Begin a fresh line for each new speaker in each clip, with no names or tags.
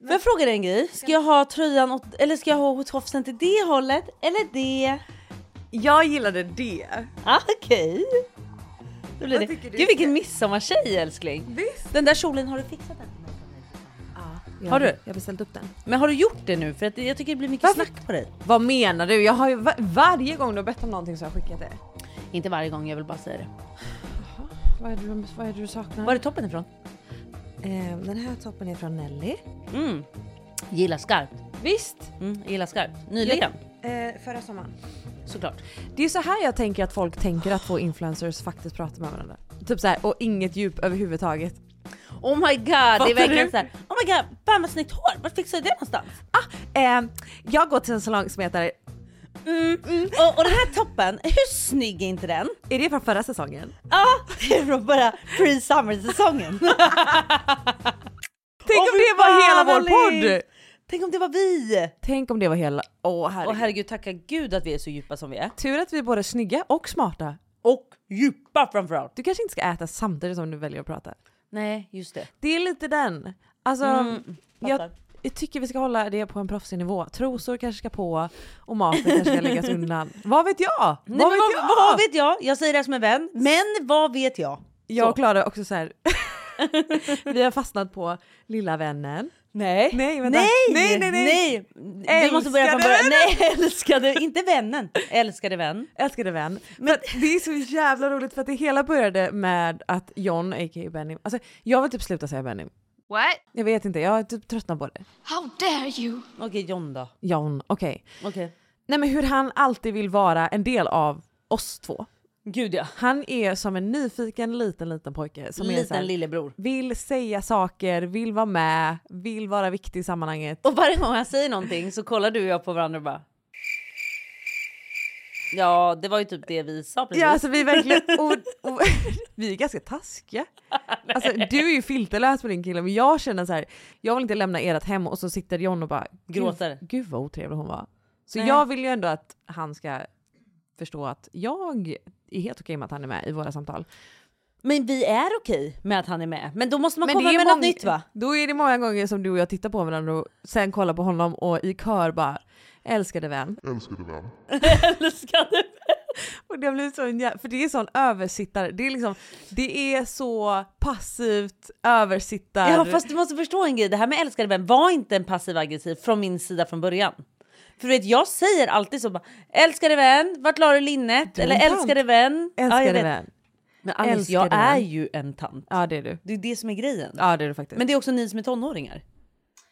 Får jag fråga dig en grej? Ska jag ha tröjan åt, eller ska jag ha tofsen till det hållet eller det?
Jag gillade det.
Ah, Okej. Då blir
Vad
det.
tycker du
Gud vilken
ska-
midsommartjej älskling.
Visst?
Den där kjolen, har du fixat den?
Ja,
Har du?
Jag har beställt upp den.
Men har du gjort det nu? För att jag tycker det blir mycket
Varför?
snack på dig.
Vad menar du? Jag har ju va- varje gång du har bett om någonting så har jag skickat det.
Inte varje gång, jag vill bara säga det.
Vad är det du, vad är det du saknar?
Var är toppen ifrån?
Eh, den här toppen är från Nelly.
Mm. Gillar skarpt.
Visst?
Mm, gillar skarpt. Nyligen
Eh, förra sommaren.
såklart.
Det är så här jag tänker att folk tänker att två influencers faktiskt pratar med varandra. Typ så här, och inget djup överhuvudtaget.
Oh my god, det är
Fattar
verkligen
du?
såhär. Oh my god, fan vad snyggt hår. Vart fixade du det någonstans?
Eh, jag går till en salong som heter,
Mm. Och, och den här toppen, hur snygg är inte den?
är det från förra säsongen?
Ja, det är från bara pre-summer-säsongen.
Tänk
Åh,
om
fy
det var hela
fan, vad
vår podd!
likt. Tänk om det var vi!
Tänk om det var hela, åh herregud.
Och herregud, tacka gud att vi är så djupa som vi är.
Tur att vi är både snygga och smarta.
Och djupa framförallt.
Du kanske inte ska äta samtidigt som du väljer att prata.
Nej, just det.
Det är lite den. Alltså,
Mm,
jag, jag tycker vi ska hålla det på en proffsig nivå. Trosor kanske ska på och maten kanske ska läggas undan. Vad vet jag?
Nej,
vad
men
vet
vad,
jag?
vad vet jag? Jag säger det här som en vän. Men vad vet jag?
jag
Så.
och Klara är också så här. vi har fastnat på lilla vännen.
Nej.
Nej, vänta.
Nej!
nej, nej, nej.
Vi måste börja från
Älskade
början. Nej, älskade. Inte vännen. Älskade vän.
Älskade vän. Men det är så jävla roligt för att det hela började med att John, a.k.a. Benny, alltså jag vill typ sluta säga Benny.
What?
Jag vet inte, jag har typ tröttnat på det.
How dare you?
Okej, John då.
John, okej.
Okej.
Nej men hur han alltid vill vara en del av oss två.
Gud ja.
Han är som en nyfiken liten liten pojke som är så här,
Liten lillebror.
vill säga saker, vill vara med, vill vara viktig i sammanhanget.
Och varje gång han säger någonting så kollar du och jag på varandra och bara... Ja, det var ju typ det vi sa precis.
Ja alltså vi är verkligen, och, och, vi är ganska taskiga. Alltså du är ju filterlös på din kille men jag känner så här, jag vill inte lämna ert hem och så sitter John och bara gud-
Gråter.
Gud vad otrevlig hon var. Så
Nej.
jag vill ju ändå att han ska förstå att jag är helt okej med att han är med i våra samtal.
Men vi är okej med att han är med. Men då måste man
Men
komma
det är
med
många-
något nytt va?
Då är det många gånger som du och jag tittar på varandra och sen kollar på honom och i kör bara älskade vän.
Älskade vän.
Älskade
Och det blir så en jä- för det är sån översittare. Det är liksom, det är så passivt översittar.
Ja fast du måste förstå en grej. Det här med älskade vän var inte en passiv aggressiv från min sida från början. För du vet jag säger alltid så bara älskade vän, vart la du linnet?
Du är
Eller
en tant.
älskade vän.
älskade
jag vet.
vän.
Men Alice
Älskade
jag är
vän.
ju en tant.
Ja det är du.
Det är det som är grejen.
Ja det är du faktiskt. Men,
Men det är också ni som är tonåringar.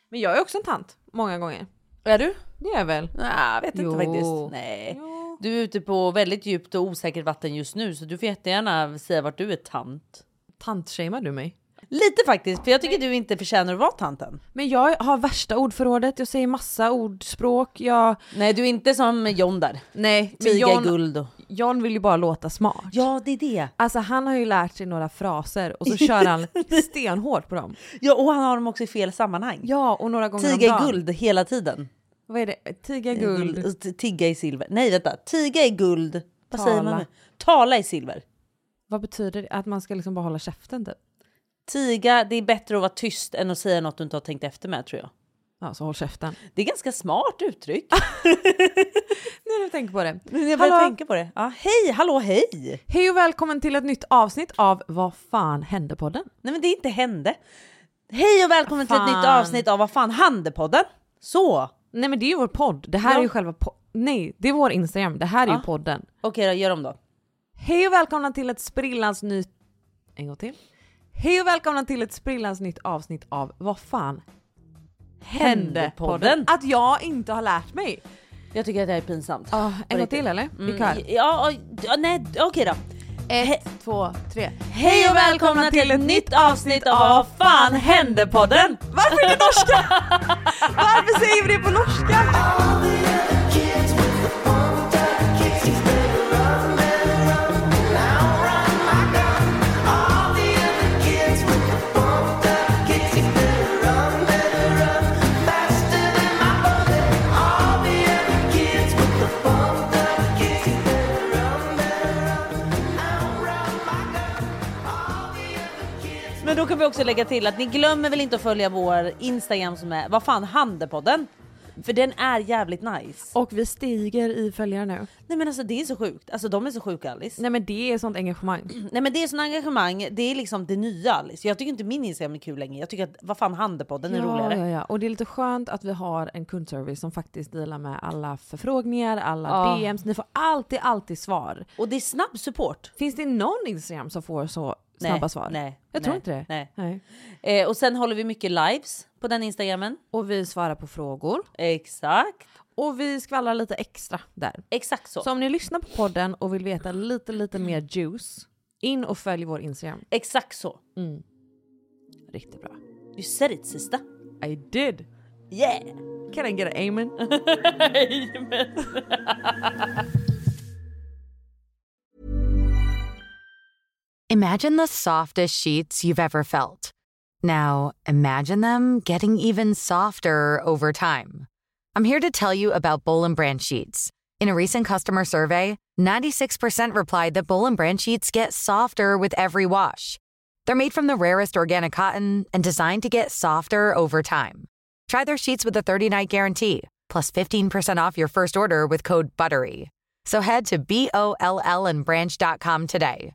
jag är också en tant många gånger.
Är du?
Det är jag väl.
Nej, jag vet
Jo.
inte faktiskt. Nej.
Jo.
Du är ute på väldigt djupt och osäkert vatten just nu så du får jättegärna säga vart du är tant.
Tantshamear du mig?
Lite faktiskt, för jag tycker du inte förtjänar att vara tanten.
Men jag har värsta ordförrådet, jag säger massa ordspråk, jag...
Nej, du är inte som John där.
Nej,
Tiga
men
i
John,
guld och...
John vill ju bara låta smart.
Ja, det är det.
Alltså han har ju lärt sig några fraser och så kör han stenhårt på dem.
Ja, och han har dem också i fel sammanhang.
Ja och några gånger
Tiga
om
i
dagen.
guld hela tiden. Mm,
Vad är det? Tiga i guld.
Och t- Tigga i silver. Nej, vänta. Tiga i guld. Vad säger man
Tala.
nu? Tala i silver.
Vad betyder det? Att man ska liksom bara hålla käften typ?
Tiga, det är bättre att vara tyst än att säga något du inte har tänkt efter med tror jag.
Ja så håll käften.
Det är ganska smart uttryck.
Nu när jag tänker på det.
Men jag
Hallå.
börjar tänka på det. Ja, hej, hallå, hej!
Hej och välkommen till ett nytt avsnitt av Vad fan hände podden?
Nej men det inte hände. Hej och välkommen till ett
Fan.
nytt avsnitt av Vad fan handepodden. Så!
Nej men det är ju vår podd. Det här
Ja.
är ju själva po- Nej, det är vår Instagram. Det här är ju
Ja.
podden.
Okej då, gör om då.
Hej och välkomna till ett sprillans nytt... En gång till. Hej och välkomna till ett sprillans nytt avsnitt av Vad fan hände podden? Att jag inte har lärt mig.
Jag tycker att det här är pinsamt.
Ja, en gång
riktigt.
till eller? Vi
Mm,
kör.
ja, ja, ja, nej okej då.
Ett, två, tre.
Hej och välkomna till ett nytt avsnitt av Vad fan händepodden.
Varför inte norska? Varför säger vi det på norska?
Men då kan vi också lägga till att ni glömmer väl inte att följa vår Instagram som är vad fan Handelpodden. För den är jävligt nice.
Och vi stiger i följare nu.
Nej men alltså det är så sjukt. Alltså de är så sjuka Alice.
Nej men det är sånt engagemang.
Nej men det är sån engagemang, det är liksom det nya Alice. Jag tycker inte min Instagram är kul längre. Jag tycker att vad fan Handelpodden är roligare.
ja, ja. Och det är lite skönt att vi har en kundservice som faktiskt dealar med alla förfrågningar, alla
Ja.
DMs. Ni får alltid, alltid svar.
Och det är snabb support.
Finns det någon Instagram som får så snabba svar?
Nej.
Jag
nej,
tror inte det.
Nej.
Nej.
Eh, och sen håller vi mycket lives på den Instagramen.
Och vi svarar på frågor.
Exakt.
Och vi skvallrar lite extra där.
Exakt så.
Så om ni lyssnar på podden och vill veta lite, lite mer juice, in och följ vår Instagram.
Exakt så.
Riktigt bra.
You said it sista.
I did!
Yeah!
Can I get an amen?
Imagine the softest sheets you've ever felt. Now, imagine them getting even softer over time. I'm here to tell you about Boll & Branch sheets. In a recent customer survey, 96% replied that Boll & Branch sheets get softer with every wash. They're made from the rarest organic cotton and designed to get softer over time. Try their sheets with a 30-night guarantee, plus 15% off your first order with code BUTTERY. So head to B-O-L-L and branch.com today.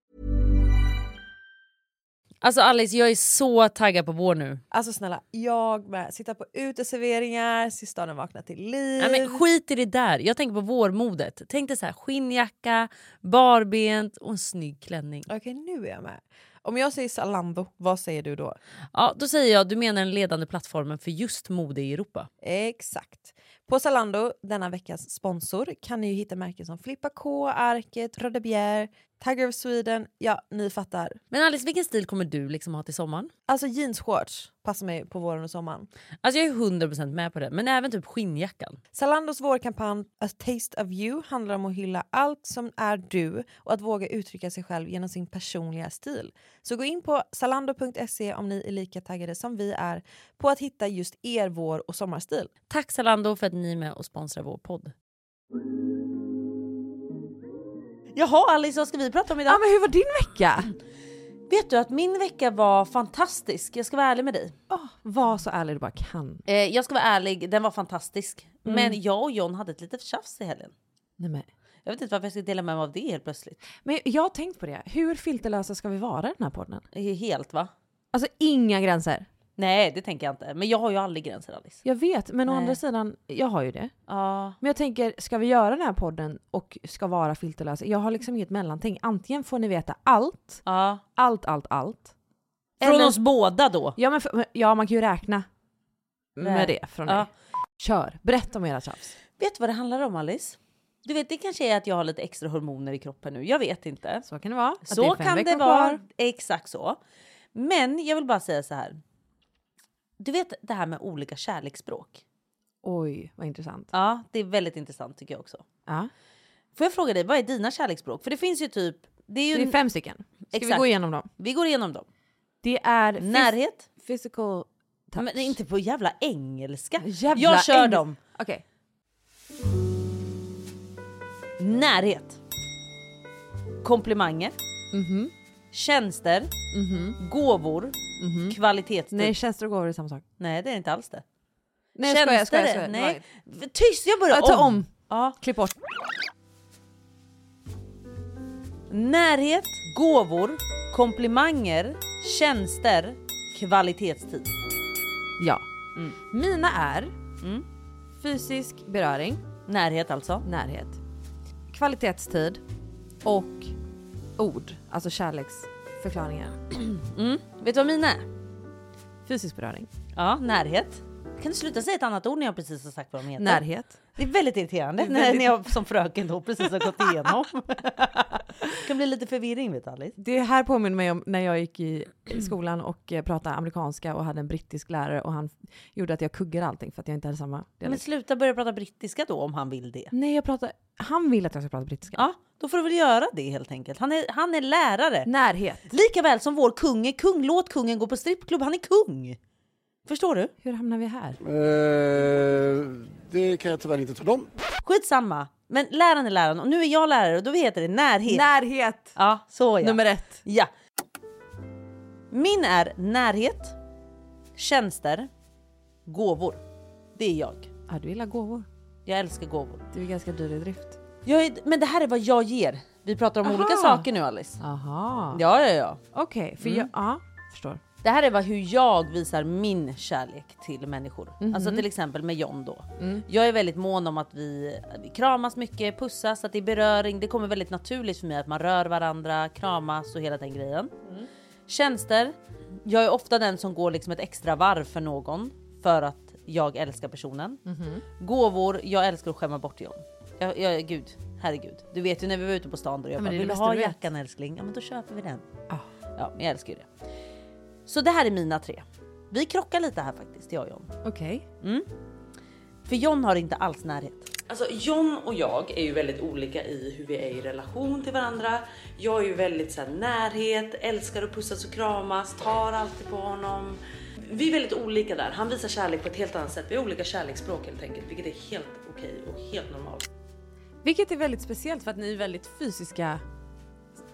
Alltså Alice, jag är så taggad på vår nu.
Alltså snälla, jag med. Sitta på uteserveringar, se staden vakna till liv.
Nej, men skit i det där. Jag tänker på vårmodet. Tänk dig så här, skinnjacka, barbent och en snygg klänning.
Okej, nu är jag med. Om jag säger Zalando, vad säger du då?
Ja, då säger jag du menar den ledande plattformen för just mode i Europa.
Exakt. På Zalando, denna veckas sponsor, kan ni ju hitta märken som Flippa K, Arket, Röda Bjer, Tiger of Sweden. Ja, ni fattar.
Men Alice, vilken stil kommer du liksom ha till sommaren?
Alltså jeansshorts passar mig på våren och sommaren.
Alltså jag är 100% med på det, men även typ skinnjackan.
Zalandos vårkampanj A Taste of You handlar om att hylla allt som är du och att våga uttrycka sig själv genom sin personliga stil. Så gå in på zalando.se om ni är lika taggade som vi är på att hitta just er vår och sommarstil.
Tack Zalando för att ni är med och sponsrar vår podd. Jaha Alice, vad ska vi prata om idag?
men hur var din vecka?
Vet du att min vecka var fantastisk, jag ska vara ärlig med dig.
var så ärlig du bara kan.
Eh, jag ska vara ärlig, den var fantastisk. Men jag och John hade ett litet tjafs i helgen.
Nej, men.
Jag vet inte varför jag ska dela med mig av det helt plötsligt.
men jag har tänkt på det. Hur filterlösa ska vi vara i den här podden?
Eh, Helt va?
Alltså inga gränser.
Nej det tänker jag inte. Men jag har ju aldrig gränser Alice.
Jag vet, men å
Nej.
andra sidan, jag har ju det.
Ja.
Men jag tänker, ska vi göra den här podden och ska vara filterlösa? Jag har liksom inget mellanting. Antingen får ni veta allt,
ja.
allt, allt, allt.
Från
Eller-
oss båda då.
Ja, men för, ja man kan ju räkna
Nej.
med det från dig.
Ja.
Kör, berätta om era tjafs.
Vet du vad det handlar om Alice? Du vet det kanske är att jag har lite extra hormoner i kroppen nu. Jag vet inte.
Så kan det vara. att
Så
är fem
kan det
veckor
vara.
kvar.
Exakt så. Men jag vill bara säga så här. Du vet det här med olika kärleksspråk.
Oj, vad intressant.
Ja, det är väldigt intressant tycker jag också.
Ja.
Får jag fråga dig, vad är dina kärleksspråk? För det finns ju typ... Det är
Det
ju,
är fem stycken. Ska vi
Exakt.
gå igenom dem?
Vi går igenom dem.
Det är phys-
Närhet.
physical touch.
Men inte på jävla engelska.
Jävla
jag kör
engels-
dem. Typ.
Okej.
Närhet. Komplimanger. Mhm. Tjänster. Gåvor. Kvalitetstid.
Nej,
Mhm. Nej.
tjänster och gåvor är samma sak.
det är inte alls det.
Nej, jag skojar, jag skojar, jag
Tjänster är-
skojar.
Nej. Tyst, jag börjar
Jag tar om.
Ja.
Klipp bort.
Närhet, gåvor, komplimanger, tjänster, kvalitetstid.
Ja. Mina är
Mm.
Fysisk beröring,
Närhet alltså.
närhet. Kvalitetstid och ord, alltså kärleksförklaringar.
Vet du vad mina är?
Fysisk beröring,
Ja, närhet. Kan du sluta säga ett annat ord när jag precis har sagt vad de heter?
närhet.
Det är väldigt irriterande när, när jag som fröken då precis har gått igenom. det kan bli lite förvirring vet du Alice.
Det här påminner mig om när jag gick i skolan och eh, pratade amerikanska och hade en brittisk lärare och han gjorde att jag kuggade allting för att jag inte hade samma
Men
dialekt.
sluta börja prata brittiska då om han vill det.
Nej, jag pratar, han vill att jag ska prata brittiska.
Ja, då får du väl göra det helt enkelt. Han är, han är lärare.
Närhet.
Lika väl som vår kung är kung. Låt kungen gå på strippklubb. Han är kung. Förstår du?
Hur hamnar vi här?
Eh, det kan jag tyvärr inte tala om.
Skitsamma. Men läraren är läraren och nu är jag lärare och då heter det närhet.
Närhet!
ja, så ja.
Nummer ett.
Ja. Min är närhet, tjänster, gåvor. Det är jag.
Ja, du gillar gåvor.
Jag älskar gåvor.
Du är ganska dyr i drift.
Jag är, men det här är vad jag ger. Vi pratar om olika saker nu Alice.
Aha. Mm.
Ja, ja, ja.
Okej, för jag... Ja, förstår.
Det här är vad, hur jag visar min kärlek till människor.
Mhm.
Alltså till exempel med John då.
Mm.
Jag är väldigt mån om att vi, vi kramas mycket, pussas, att det är beröring. Det kommer väldigt naturligt för mig att man rör varandra, kramas och hela den grejen.
Mm.
Tjänster. Jag är ofta den som går liksom ett extra varv för någon för att jag älskar personen.
Mhm.
Gåvor. Jag älskar att skämma bort John. Jag, jag, gud, herregud. Du vet ju när vi var ute på stan då. Jag bara,
det är det
vill du
bästa
ha
du vet." Ah.
jackan älskling? Ja men då köper vi den. Ja, men jag älskar ju det. Så det här är mina tre. Vi krockar lite här faktiskt, jag och John.
Okej.
För John har inte alls närhet. Alltså John och jag är ju väldigt olika i hur vi är i relation till varandra. Jag är ju väldigt så här, närhet, älskar att pussas och kramas, tar alltid på honom. Vi är väldigt olika där. Han visar kärlek på ett helt annat sätt. Vi har olika kärleksspråk helt enkelt, vilket är helt okej och helt normalt.
Vilket är väldigt speciellt för att ni är väldigt fysiska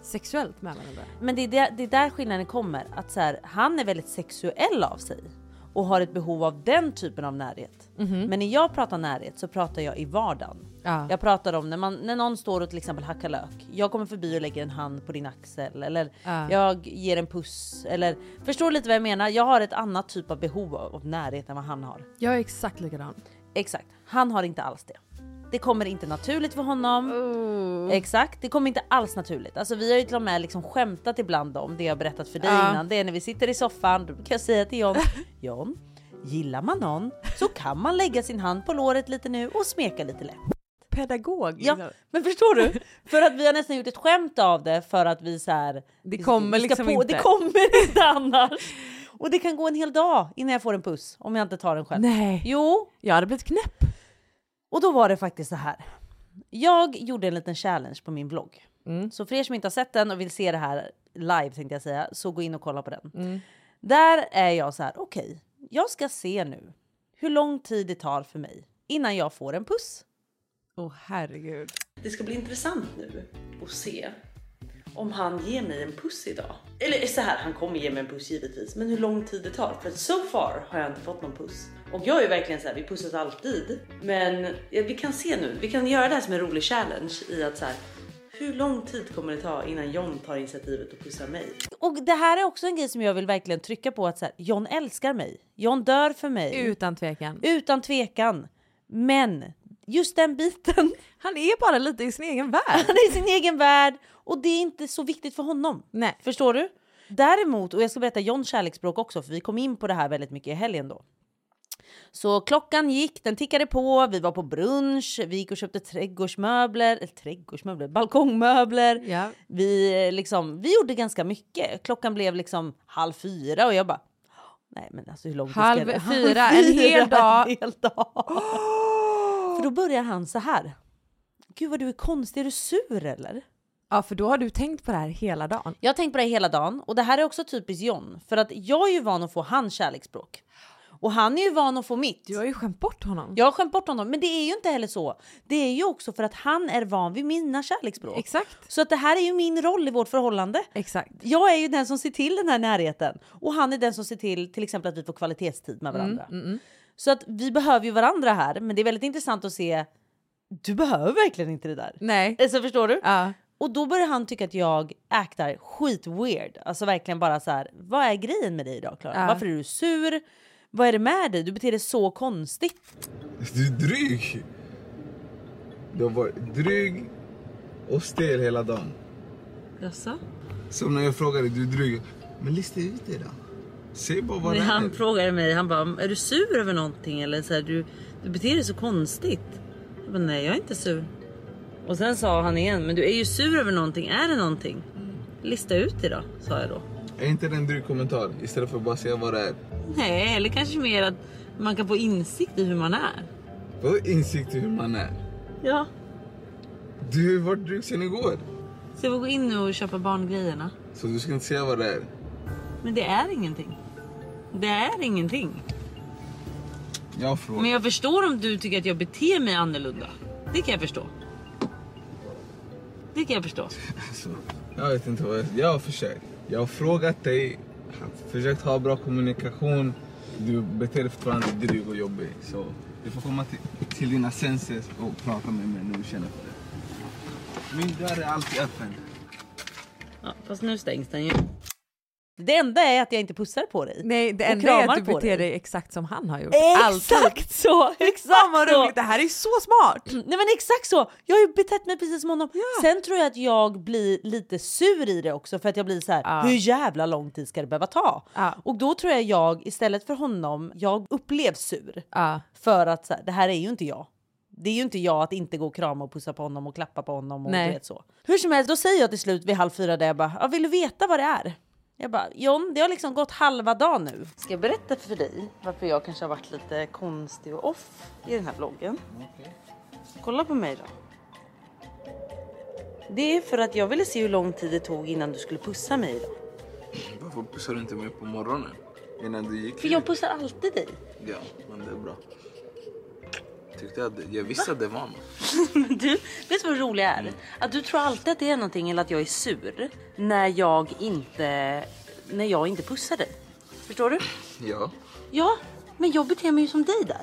sexuellt med varandra.
Men det är, där, det är där skillnaden kommer. Att så här, han är väldigt sexuell av sig och har ett behov av den typen av närhet. Men när jag pratar närhet så pratar jag i vardagen.
Mhm. Ja.
Jag pratar om när, man, när någon står och till exempel hackar lök. Jag kommer förbi och lägger en hand på din axel eller
Ja.
jag ger en puss eller förstår lite vad jag menar. Jag har ett annat typ av behov av, av närhet än vad han har.
Jag är exakt likadan.
Exakt. Han har inte alls det. Det kommer inte naturligt för honom. Exakt. Det kommer inte alls naturligt. Alltså vi har ju till och med liksom skämtat ibland om det jag berättat för dig
Ja.
innan. Det är när vi sitter i soffan, då kan jag säga till John. John, gillar man någon så kan man lägga sin hand på låret lite nu och smeka lite lätt.
Pedagog.
Ja, men förstår du? För att vi har nästan gjort ett skämt av det för att vi så här.
Det
vi- vi
kommer
ska
liksom inte.
Det kommer inte annars. Och det kan gå en hel dag innan jag får en puss om jag inte tar den själv.
Nej.
Jo,
Jag hade blivit knäpp.
och då var det faktiskt så här. Jag gjorde en liten challenge på min blogg. Så för er som inte har sett den och vill se det här live tänkte jag säga, så gå in och kolla på den. Där är jag så här, okej, jag ska se nu hur lång tid det tar för mig innan jag får en puss.
Åh herregud.
Det ska bli intressant nu att se om han ger mig en puss idag. Eller så här, han kommer ge mig en puss givetvis, men hur lång tid det tar. För so far har jag inte fått någon puss. Och jag är ju verkligen så här, vi pussas alltid. Men ja, vi kan se nu, vi kan göra det här som en rolig challenge i att så här, hur lång tid kommer det ta innan John tar initiativet och pussar mig? Och det här är också en grej som jag vill verkligen trycka på att så här, John älskar mig. John dör för mig.
Utan tvekan.
Utan tvekan. Men just den biten
Han är bara lite i sin egen värld.
han är i sin egen värld och det är inte så viktigt för honom.
Nej.
Förstår du? Däremot, och jag ska berätta Johns kärleksspråk också, för vi kom in på det här väldigt mycket i helgen då. Så klockan gick, den tickade på, vi var på brunch, vi gick och köpte trädgårdsmöbler, eller trädgårdsmöbler, balkongmöbler.
Ja.
Vi, eh, liksom, vi gjorde ganska mycket. Klockan blev liksom halv fyra och jag bara, nej men alltså hur långt ska
Halv
det-
fyra, en hel dag.
En hel dag. För då börjar han så här. Gud vad du är konstig, är du sur eller?
ja, för då har du tänkt på det här hela dagen.
Jag har tänkt på det här hela dagen och det här är också typiskt John för att jag är ju van att få hans kärleksspråk och han är ju van att få mitt.
Du har ju skämt bort honom.
Jag har skämt bort honom, men det är ju inte heller så. Det är ju också för att han är van vid mina kärleksspråk.
Exakt.
Så att det här är ju min roll i vårt förhållande.
Exakt.
Jag är ju den som ser till den här närheten och han är den som ser till till exempel att vi får kvalitetstid med varandra. Så att vi behöver ju varandra här, men det är väldigt intressant att se. Du behöver verkligen inte det där.
Nej.
Alltså förstår du?
Ja.
Och då börjar han tycka att jag actar skit weird. Alltså verkligen bara så här. Vad är grejen med dig idag Klara?
Ja.
Varför är du sur? Vad är det med dig? Du beter dig så konstigt.
Du är dryg! Du har varit dryg och stel hela dagen.
Jaså?
Som när jag frågade, du är dryg. Men lista ut det då. Säg bara vad
Nej,
det är.
han frågade mig, han bara, är du sur över någonting eller så här, du, du beter dig så konstigt. Jag bara, nej jag är inte sur. Och sen sa han igen, men du är ju sur över någonting, är det någonting? Lista ut det då, sa jag då.
Är inte det en dryg kommentar? Istället för att bara säga vad det är.
Nej, eller kanske mer att man kan få insikt i hur man är.
Vadå insikt i hur man är?
Ja,
Du har ju varit dryg sen igår.
så jag får gå in nu och köpa barngrejerna.
Så du ska inte säga vad det är.
Men det är ingenting. Det är ingenting.
Jag frågar.
Men jag förstår om du tycker att jag beter mig annorlunda. Det kan jag förstå. Det kan jag förstå.
Alltså, jag vet inte vad jag... Jag har försökt. Jag har frågat dig, försökt ha bra kommunikation. Du beter dig fortfarande dryg och jobbig. Så du får komma till, till dina senses och prata med mig när du känner för det. Min dörr är alltid öppen.
Ja, fast nu stängs den ju. Det enda är att jag inte pussar på dig.
Nej, det
Och
enda är
kramar
att du
på
beter
dig.
dig exakt som han har gjort. Alltså,
Exakt så! Exakt
Fan vad
så.
roligt, det här är ju så smart!
Nej men exakt så! Jag har ju betett mig precis som honom. Sen tror jag att jag blir lite sur i det också för att jag blir så här, hur jävla lång tid ska det behöva ta?
Ja.
Och då tror jag jag istället för honom, jag upplevs sur.
Ja.
För att så här, det här är ju inte jag. Det är ju inte jag att inte gå och krama och pussa på honom och klappa på honom och
Nej.
du vet så. Hur som helst, då säger jag till slut vid halv fyra där jag bara, "Ja, vill du veta vad det är? Jag bara, John, det har liksom gått halva dagen nu. Ska jag berätta för dig varför jag kanske har varit lite konstig och off i den här vloggen? Kolla på mig då. Det är för att jag ville se hur lång tid det tog innan du skulle pussa mig idag.
Varför pussar du inte mig på morgonen? Innan du gick?
För jag pussar alltid dig.
Ja, men det är bra. Tyckte jag, jag visste att det var något.
Men du, vet du vad det roliga är? Att du tror alltid att det är någonting eller att jag är sur när jag inte, när jag inte pussar dig. Förstår du?
Ja.
Ja, men jag beter mig ju som dig där.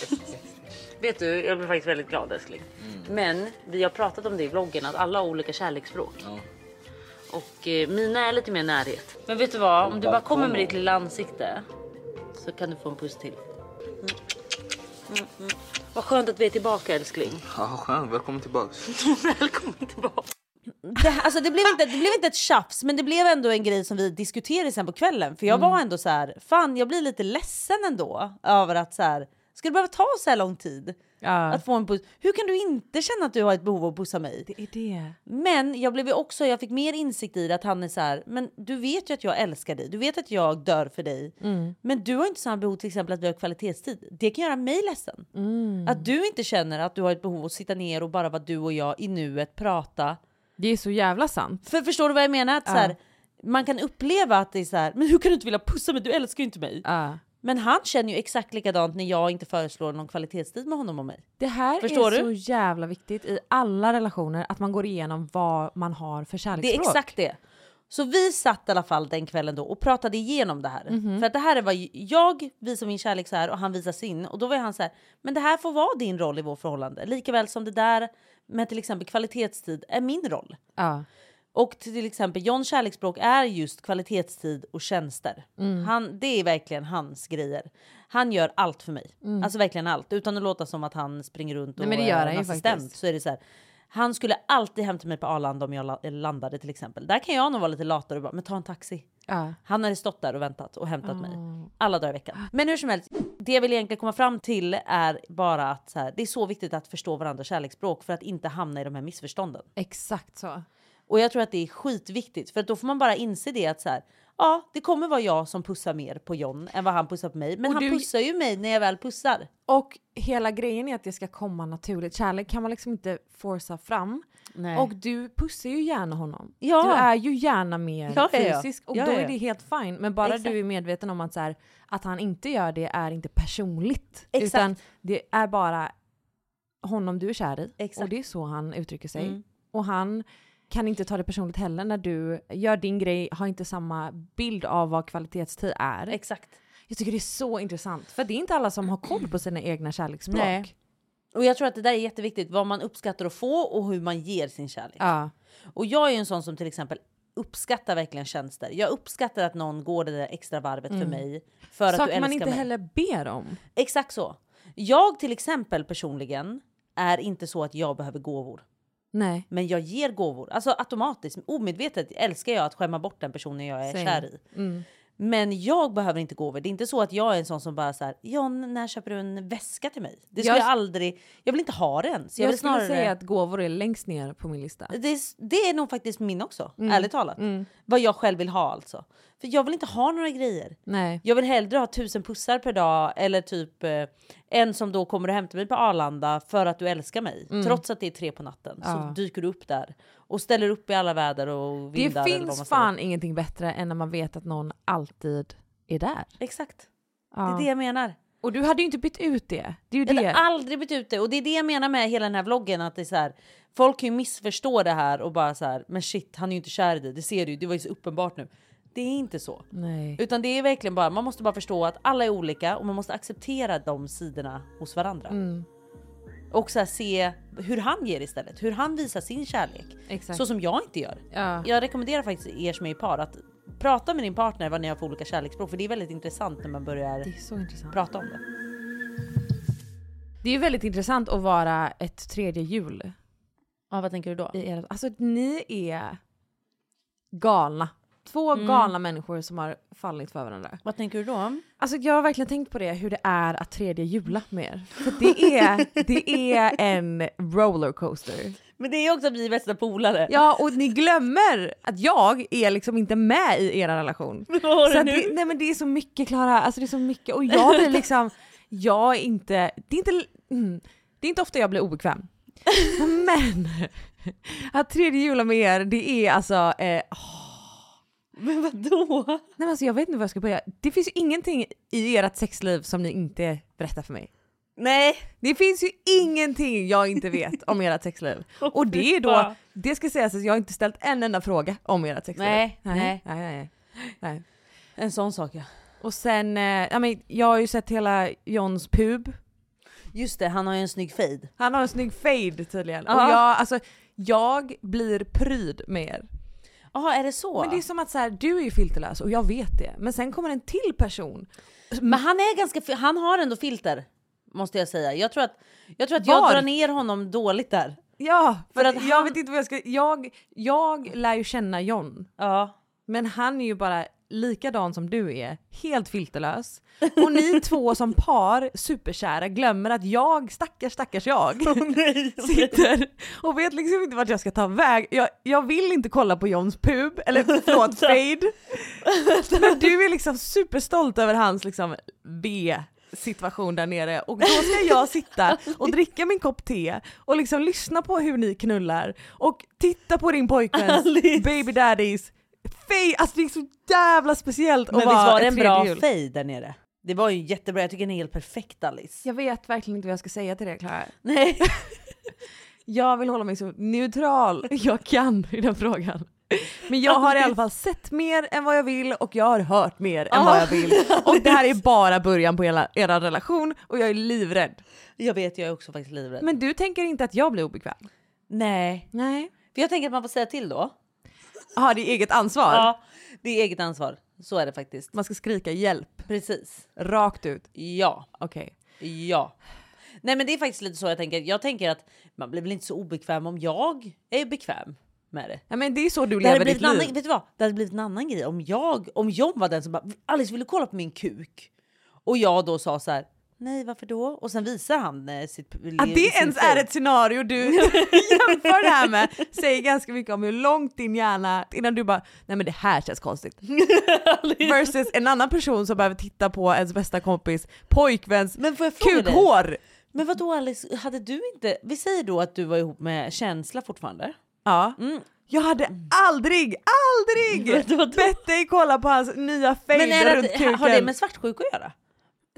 vet du, jag blir faktiskt väldigt glad älskling. Men vi har pratat om det i vloggen att alla har olika kärleksspråk. Och eh, mina är lite mer närhet. Men vet du vad? Om du bara kommer med ditt lilla ansikte så kan du få en puss till. Mm. Mm. Mm. Vad skönt att vi är tillbaka älskling.
Ja, skönt. Välkommen tillbaks.
Välkommen tillbaka. Det, alltså det, blev inte, det blev inte ett tjafs men det blev ändå en grej som vi diskuterade sen på kvällen. För jag var ändå så här, fan jag blir lite ledsen ändå över att så här, ska det behöva ta så här lång tid?
Ja.
Att få en puss. Hur kan du inte känna att du har ett behov av att pussa mig?
Det är det.
Men jag blev ju också, jag fick mer insikt i det att han är så här, men du vet ju att jag älskar dig, du vet att jag dör för dig. Men du har inte samma behov till exempel att vi har kvalitetstid. Det kan göra mig ledsen. Att du inte känner att du har ett behov att sitta ner och bara vara du och jag i nuet, prata.
Det är så jävla sant.
För förstår du vad jag menar? Att så här, man kan uppleva att det är så här, men hur kan du inte vilja pussa mig, du älskar ju inte mig.
Ja.
Men han känner ju exakt likadant när jag inte föreslår någon kvalitetstid med honom och mig.
Det här
Förstår
är
du?
så jävla viktigt i alla relationer, att man går igenom vad man har för kärleksspråk.
Det är exakt det. Så vi satt i alla fall den kvällen då och pratade igenom det här. För att det här är vad jag visar min kärlek så här och han visar sin. Och då var han så här, men det här får vara din roll i vårt förhållande. Likaväl som det där med till exempel kvalitetstid är min roll.
Ja.
Och till exempel Johns kärleksspråk är just kvalitetstid och tjänster.
Mm.
Han, det är verkligen hans grejer. Han gör allt för mig. Alltså verkligen allt. Utan att låta som att han springer runt och
Mm. Nej, men det gör
är
han
en
ju
assistent.
faktiskt.
Så är det så här. Han skulle alltid hämta mig på Arlanda om jag la- landade till exempel. Där kan jag nog vara lite latare och bara, men ta en taxi.
Ja.
Han hade stått där och väntat och hämtat mig
Mm.
alla dagar i veckan. Men hur som helst, det jag vill egentligen komma fram till är bara att så här, det är så viktigt att förstå varandras kärleksspråk för att inte hamna i de här missförstånden.
Exakt så.
Och jag tror att det är skitviktigt för att då får man bara inse det att så här, ja, det kommer vara jag som pussar mer på John än vad han pussar på mig. Men
Och
han
du-
pussar ju mig när jag väl pussar.
Och hela grejen är att det ska komma naturligt. Kärlek kan man liksom inte forsa fram.
Nej.
Och du pussar ju gärna honom.
Ja.
Du är ju gärna mer
Ja, ja, ja.
fysisk och
Ja,
då
ja,
är
ja.
det helt fine. Men bara
Exakt.
du är medveten om att, så här, att han inte gör det är inte personligt.
Exakt.
Utan det är bara honom du är kär i.
Exakt.
Och det är så han uttrycker sig.
Mm.
Och han kan inte ta det personligt heller när du gör din grej, har inte samma bild av vad kvalitetstid är.
Exakt.
Jag tycker det är så intressant. För det är inte alla som har koll på sina egna kärleksspråk.
Nej. Och jag tror att det där är jätteviktigt, vad man uppskattar att få och hur man ger sin kärlek.
Ja.
Och jag är ju en sån som till exempel uppskattar verkligen tjänster. Jag uppskattar att någon går det där extra varvet för mig. För att du
Mm. Saker
älskar
man inte
mig.
heller ber om.
Exakt så. Jag till exempel personligen är inte så att jag behöver gåvor.
Nej.
Men jag ger gåvor. Alltså automatiskt, omedvetet älskar jag att skämma bort den personen jag är
Same. Mm.
kär i. Men jag behöver inte gåvor. Det är inte så att jag är en sån som bara så här, John, när köper du en väska till mig? Det skulle
Jag-
jag, aldrig, jag vill inte ha den. Så jag,
Jag,
vill
skulle
snarare...
säga att gåvor är längst ner på min lista.
Det är, det är nog faktiskt min också,
Mm.
ärligt talat. Vad jag själv vill ha alltså. För jag vill inte ha några grejer.
Nej.
Jag vill hellre ha tusen pussar per dag eller typ eh, en som då kommer och hämtar mig på Arlanda för att du älskar mig. Trots att det är tre på natten
Mm. Ja.
så dyker du upp där och ställer upp i alla väder och
Det
vindar. eller vad man
finns
säger.
fan ingenting bättre än när man vet att någon alltid är där.
Exakt,
Ja.
det är det jag menar.
Och du hade ju inte bytt ut det. Det är ju
Jag hade
det.
aldrig bytt ut det och det är det jag menar med hela den här vloggen att det är så här. Folk kan ju missförstå det här och bara så här, men shit han är ju inte kär i dig, det ser du ju, det var ju så uppenbart nu. Det är inte så.
Nej.
Utan det är verkligen bara, man måste bara förstå att alla är olika och man måste acceptera de sidorna hos varandra. Och så här, se hur han ger istället, hur han visar sin kärlek.
Exakt.
Så som jag inte gör.
Ja.
Jag rekommenderar faktiskt er som är i par att prata med din partner vad ni har för olika kärleksspråk för det är väldigt intressant när man börjar
Det är så intressant.
prata om det.
Det är ju väldigt intressant att vara ett tredje hjul
Ja, vad tänker du då?
i ert... Alltså ni är galna. Två
Mm.
galna människor som har fallit för varandra.
Vad tänker du då?
Alltså jag har verkligen tänkt på det, hur det är att tredje jula med er. För det är, det är en rollercoaster.
Men det är också att vi är bästa polare.
Ja, och ni glömmer att jag är liksom inte med i er relation.
Vad har
Så
du
att
nu?
det, nej men det är så mycket Klara, alltså det är så mycket och jag blir liksom, jag är inte, det är inte, mm, det är inte ofta jag blir obekväm. Men att tredje julen med er, det är alltså, eh,
Men vadå?
Nej men alltså jag vet inte var jag ska börja. Det finns ju ingenting i ert sexliv som ni inte berättar för mig.
Nej,
Det finns ju ingenting jag inte vet om ert sexliv. Och det är då,
fan.
det ska sägas att jag har inte ställt en enda fråga om ert sexliv.
Nej,
nej,
nej.
nej. nej, nej.
en sån sak ja.
Och sen, eh, ja, men jag har ju sett hela Johns pub.
Just det, han har ju en snygg fade.
Han har en snygg fade tydligen. Och
Ja.
jag, alltså, jag blir pryd med er.
Jaha, är det så?
Men det är som att så här, du är ju filterlös och jag vet det. Men sen kommer en till person.
Men han är ganska, fi- han har ändå filter. Måste jag säga. Jag tror att jag, tror att jag
Var?
drar ner honom dåligt där.
Ja, för,
För
att
att
jag
han-
vet inte vad jag ska... Jag, jag lär ju känna John.
Ja.
Men han är ju bara likadan som du är, helt filterlös. Och ni två som par, superkära, glömmer att jag, stackars stackars jag, sitter och vet liksom inte vart jag ska ta väg. Jag, jag vill inte kolla på Johns pub, eller förlåt fade. Men du är liksom superstolt över hans liksom B situation där nere och då ska jag sitta och dricka min kopp te och liksom lyssna på hur ni knullar och titta på din pojkväns
Alice.
baby daddies fade. Alltså det är så jävla speciellt att
Men visst
vara
var det
ett
en
tredje
bra
hjul.
fade där nere? Det var ju jättebra, jag tycker den är helt perfekt Alice.
Jag vet verkligen inte vad jag ska säga till det Klara.
Nej.
Jag vill hålla mig så neutral jag kan i den frågan. Men jag har i alla fall sett mer än vad jag vill och jag har hört mer än vad jag vill. Och det här är bara början på era, era relation och jag är livrädd.
Jag vet, jag är också faktiskt livrädd.
Men du tänker inte att jag blir obekväm?
nej.
Nej.
För jag tänker att man får säga till då.
Har det är eget ansvar?
Ja. Det är eget ansvar. Så är det faktiskt.
Man ska skrika hjälp
Precis.
rakt ut.
Ja.
Okej.
Ja. Nej men det är faktiskt lite så jag tänker. Jag tänker att man blir väl inte så obekväm om jag är bekväm med det.
Ja, men det är så du
Det hade,
lever ditt
blivit en annan,
liv.
vet du vad? det hade blivit en annan grej om jag, om John var den som bara “Alice vill du kolla på min kuk?” och jag då sa så här “Nej varför då?” och sen visar han eh, sitt...
Att det ens är ett scenario du jämför det här med säger ganska mycket om hur långt din hjärna, innan du bara nej men det här känns konstigt. Versus en annan person som behöver titta på ens bästa kompis pojkväns
Men får jag fråga dig?
kukhår.
Men vadå Alice, hade du inte... Vi säger då att du var ihop med Känsla fortfarande.
Ja. Jag hade aldrig, aldrig
Mm. Vadå då?
bett dig kolla på hans nya
Men
fade
är
runt
det,
kuken.
har det med svartsjuka att göra?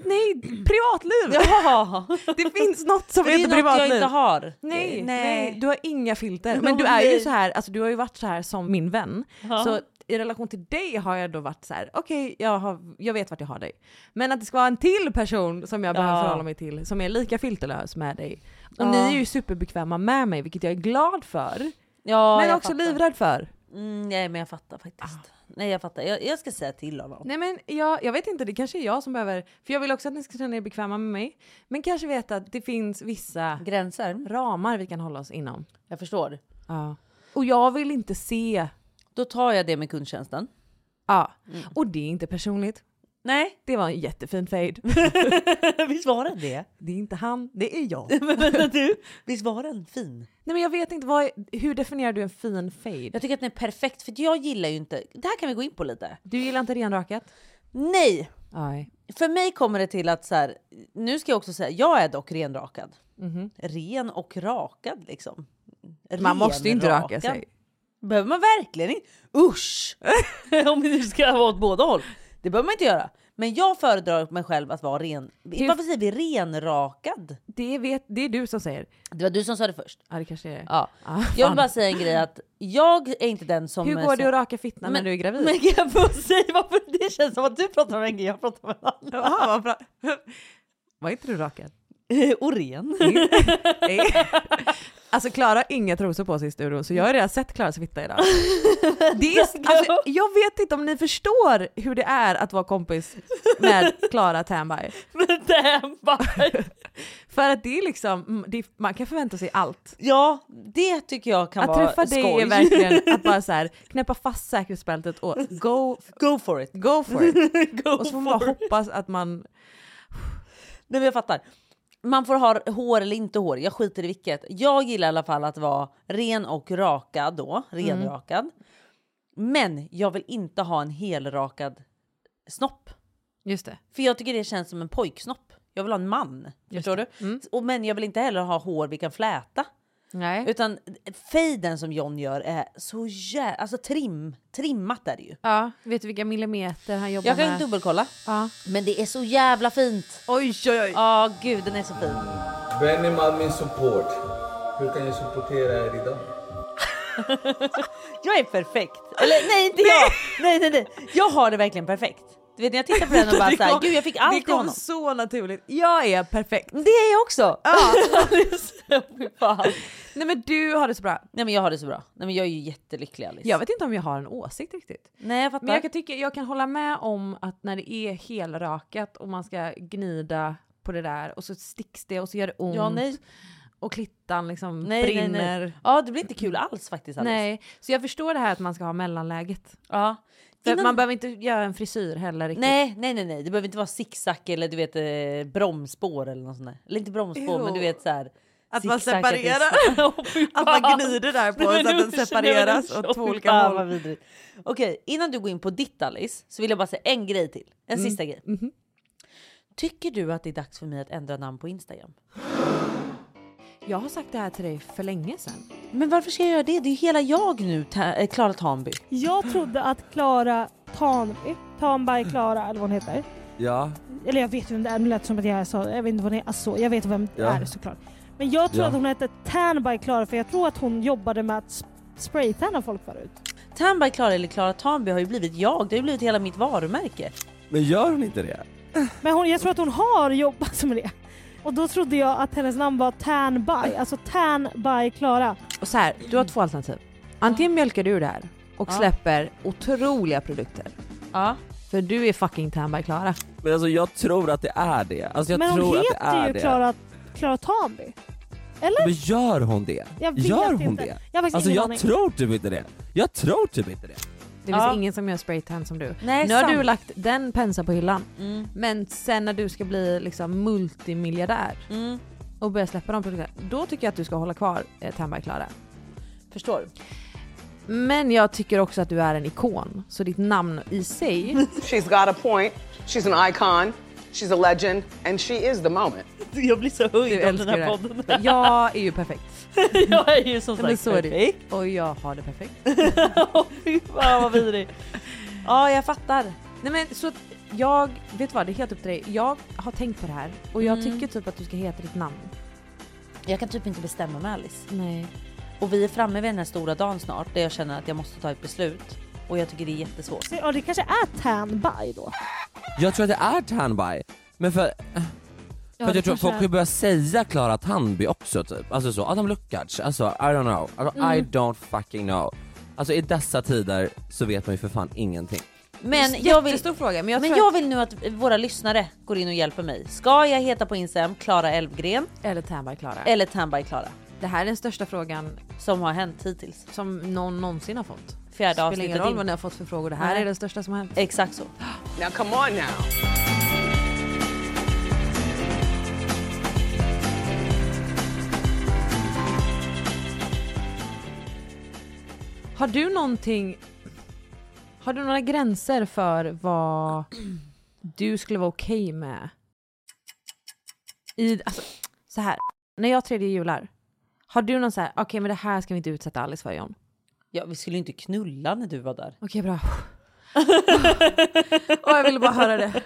Nej, privatliv!
Ja!
Det finns något som
Det är ju
heter
något jag
privatliv.
inte har.
Nej, nej.
nej.
du har inga filter.
Jo,
Men du är ju
nej.
så här, alltså du har ju varit så här som min vän.
Ja.
Så i relation till dig har jag då varit så här, okej jag, har- jag vet vart jag har dig. Men att det ska vara en till person som jag behöver
Ja.
förhålla mig till som är lika filterlös med dig. Och
Ja.
ni är ju superbekväma med mig vilket jag är glad för.
Ja,
men
jag
också
fattar.
livrädd för.
Mm, nej men jag fattar faktiskt. Nej jag fattar. Jag, jag ska säga till honom.
Nej men jag, jag vet inte, det kanske är jag som behöver, för jag vill också att ni ska känna er bekväma med mig. Men kanske veta att det finns vissa
Gränser?
ramar vi kan hålla oss inom.
Jag förstår.
Ja. Och jag vill inte se,
Då tar jag det med kundtjänsten.
ja. Och det är inte personligt.
Nej,
Det var en jättefin fade.
visst var den det?
Det är inte han, det är jag.
Men vänta du, visst var den fin?
Nej men jag vet inte, vad, hur definierar du en fin fade?
Jag tycker att den är perfekt för jag gillar ju inte, det här kan vi gå in på lite.
Du gillar inte renrakat?
Nej,
Nej.
för mig kommer det till att så här, nu ska jag också säga, jag är dock renrakad. Ren och rakad liksom.
Man måste ju inte raka
Renrakad.
sig.
behöver man verkligen inte. Usch! Om det nu ska vara åt båda håll. Det behöver man inte göra. Men jag föredrar mig själv att vara ren... Varför säger vi renrakad?
Det, vet, det är du som säger.
Det var du som sa det först.
Ja det kanske är det.
Ja.
Ah,
Jag
fan.
vill bara säga en grej att jag är inte den som...
Hur går det att raka fittan när
Men-
du är gravid?
Men kan jag få säga varför det känns som att du pratar om en grej, jag pratar om en annan.
Jaha, vad bra. Var inte du rakad?
Och ren.
alltså Klara har inga trosor på sig i studion så jag har redan sett Klaras fitta idag. Det är, alltså, jag vet inte om ni förstår hur det är att vara kompis med Klara Ternberg.
Men damn, bara.
För att det är liksom, mm, det är, man kan förvänta sig allt.
Ja, det tycker jag kan
Att
vara
träffa dig
skoj.
är verkligen att bara så här, knäppa fast säkerhetsbältet och go,
Go for it.
go for it.
Go
Och så får man
for
bara
it.
hoppas att man
Nej men jag fattar. Man får ha hår eller inte hår, jag skiter i vilket. Jag gillar i alla fall att vara ren och rakad då, renrakad. Men jag vill inte ha en helrakad snopp.
Just det.
För jag tycker det känns som en pojksnopp. Jag vill ha en man. förstår du?
Mm.
Och, men jag vill inte heller ha hår vi kan fläta.
Nej.
Utan fejden som John gör är så jävla... Alltså trim, trimmat är det ju.
Ja, vet du vilka millimeter han jobbar
Jag kan ju
med?
dubbelkolla.
Ja.
Men det är så jävla fint.
Oj, oj, oj.
Ja, gud den är så fin.
Benny Malmin support. Hur kan jag supportera er idag?
Jag är perfekt. Eller nej, inte jag. Nej, nej, nej. Jag har det verkligen perfekt. Du vet när jag tittar på den och bara
Det
såhär,
kom-
gud jag fick allt
Det
i
kom
honom. Mm.
så naturligt. Jag är perfekt.
Det är jag också. Det är så- fy fan.
Nej men du har det så bra.
nej men jag har det så bra. Nej men jag är ju jättelycklig Alice.
Jag vet inte om jag har en åsikt riktigt.
Nej jag fattar.
Men jag kan, tycka, jag kan hålla med om att när det är helrakat och man ska gnida på det där och så sticks det och så gör det ont
Ja nej.
och klittan liksom
Nej, nej,
brinner.
nej.
Nej, nej.
Ja det blir inte kul alls faktiskt Alice.
så jag förstår det här att man ska ha mellanläget.
Ja.
För
Innan-
Man behöver inte göra en frisyr heller riktigt.
Nej, nej, nej, nej. Det behöver inte vara zigzag eller du vet eh, bromsspår eller något sånt där. Eller inte bromsspår
Jo.
men du vet så här.
Att man
zigzag, det är
separerar.
snabbt. Åh, fy
Att man
fan.
gnider där på
Nej,
så
men
att den
usch, nej, men
separeras
usch,
åt
åh,
två
fy
olika
fan,
håll.
vad vidrigt. Okej, innan du går in på ditt Alice så vill jag bara säga en grej till. En
Mm.
sista grej.
Mhm.
Tycker du att det är dags för mig att ändra namn på Instagram?
Jag har sagt det här till dig för länge sedan.
Men varför ska jag göra det? Det är ju hela jag nu, Ta- eh, Klara Tanby.
Jag trodde att Klara Tanby, Tanberg Klara eller vad hon heter.
Ja,
Eller jag vet vem det är, nu lät det som att jag sa, jag vet inte vad hon är, alltså, jag vet vem det
Ja.
är såklart. Men jag tror
Ja.
att hon hette Tanberg Klara för jag tror att hon jobbade med att sp- spraytanna folk förut.
Tanby Klara eller Klara Tanby har ju blivit jag. Det har ju blivit hela mitt varumärke.
men gör hon inte det?
Men hon, jag tror att hon har jobbat med det. Och då trodde jag att hennes namn var Tanby, alltså Tanby Klara.
Och så här, du har två alternativ. Antingen mjölkar du det här och
Ja.
släpper otroliga produkter.
Ja.
För du är fucking Ternberg Klara.
Men alltså jag tror att det är det. Alltså jag
Men hon
tror att det
heter
är
ju
det.
Klara, Klara Tanby.
Men gör hon det?
Jag vet
Gör hon
inte.
det?
Jag har faktiskt
Alltså
ingen
jag
aning.
tror typ inte det. Jag tror typ inte det.
Det
Ja.
finns ingen som gör spraytan som du.
Nej,
Nu har
sant.
du lagt den penseln på hyllan.
Mm,
Men sen när du ska bli liksom multimiljardär
mm,
och börja släppa de produkterna, då tycker jag att du ska hålla kvar eh, Ternberg Klara.
förstår.
Men jag tycker också att du är en ikon, så ditt namn i sig...
She's got a point. She's an icon. She's a legend. And she is the moment.
Jag blir så
Du
höjd av den här
älskar det.
podden.
här. Jag är ju perfekt.
jag är ju som
Nej, men
sagt
så är det ju.
perfekt.
Och jag har det perfekt.
Åh, Fy fan vad vidrig. Ja, jag fattar.
Nej men så att jag, vet du vad det är helt upp till dig. Jag har tänkt på det här och jag
Mm.
tycker typ att du ska heta ditt namn.
Jag kan typ inte bestämma mig Alice.
Nej.
Och vi är framme vid den här stora dagen snart där jag känner att jag måste ta ett beslut. Och jag tycker det är jättesvårt.
Så, ja, det kanske är Tanby då.
Jag tror att det är Tanby. Men för, för att
det
jag tror
kanske
folk
är.
kommer börja säga Klara
Mm.
Tanby också typ. Alltså så, Adam Lukacs. Alltså I don't know. Alltså, I don't fucking know. Alltså i dessa tider så vet man ju för fan ingenting.
Men jag vill,
Jättestor fråga men jag
men
tror
jag vill nu att våra lyssnare går in och hjälper mig. Ska jag heta på Instagram Klara Elvgren
att... Eller Ternberg Klara.
eller Tanby Klara?
Det här är den största frågan
Som har hänt hittills.
som någon någonsin har fått.
Fjärde
Spelar
avsnittet
ingen roll
in.
vad ni har fått för frågor, det här
Nej.
är den största som har hänt.
Exakt så.
Now come on now.
Har du någonting... Har du några gränser för vad du skulle vara okej med? I, alltså, så här. När jag tredje jular, har du någon så här, okej men det här ska vi inte utsätta Alice för John?
Ja, vi skulle ju inte knulla när du var där.
Okej bra. Och jag ville bara höra det.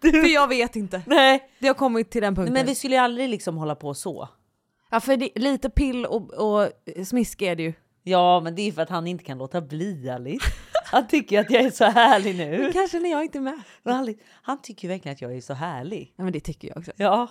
För jag vet inte.
Nej,
Det har kommit till den punkten.
men vi skulle ju aldrig liksom hålla på så.
Ja för det, lite pill och, och smisk är det ju.
Ja, men det är för att han inte kan låta bli Alice. Han tycker att jag är så härlig nu.
Kanske när jag inte är med.
Men Alice, han tycker ju verkligen att jag är så härlig.
Ja men det tycker jag också.
Ja,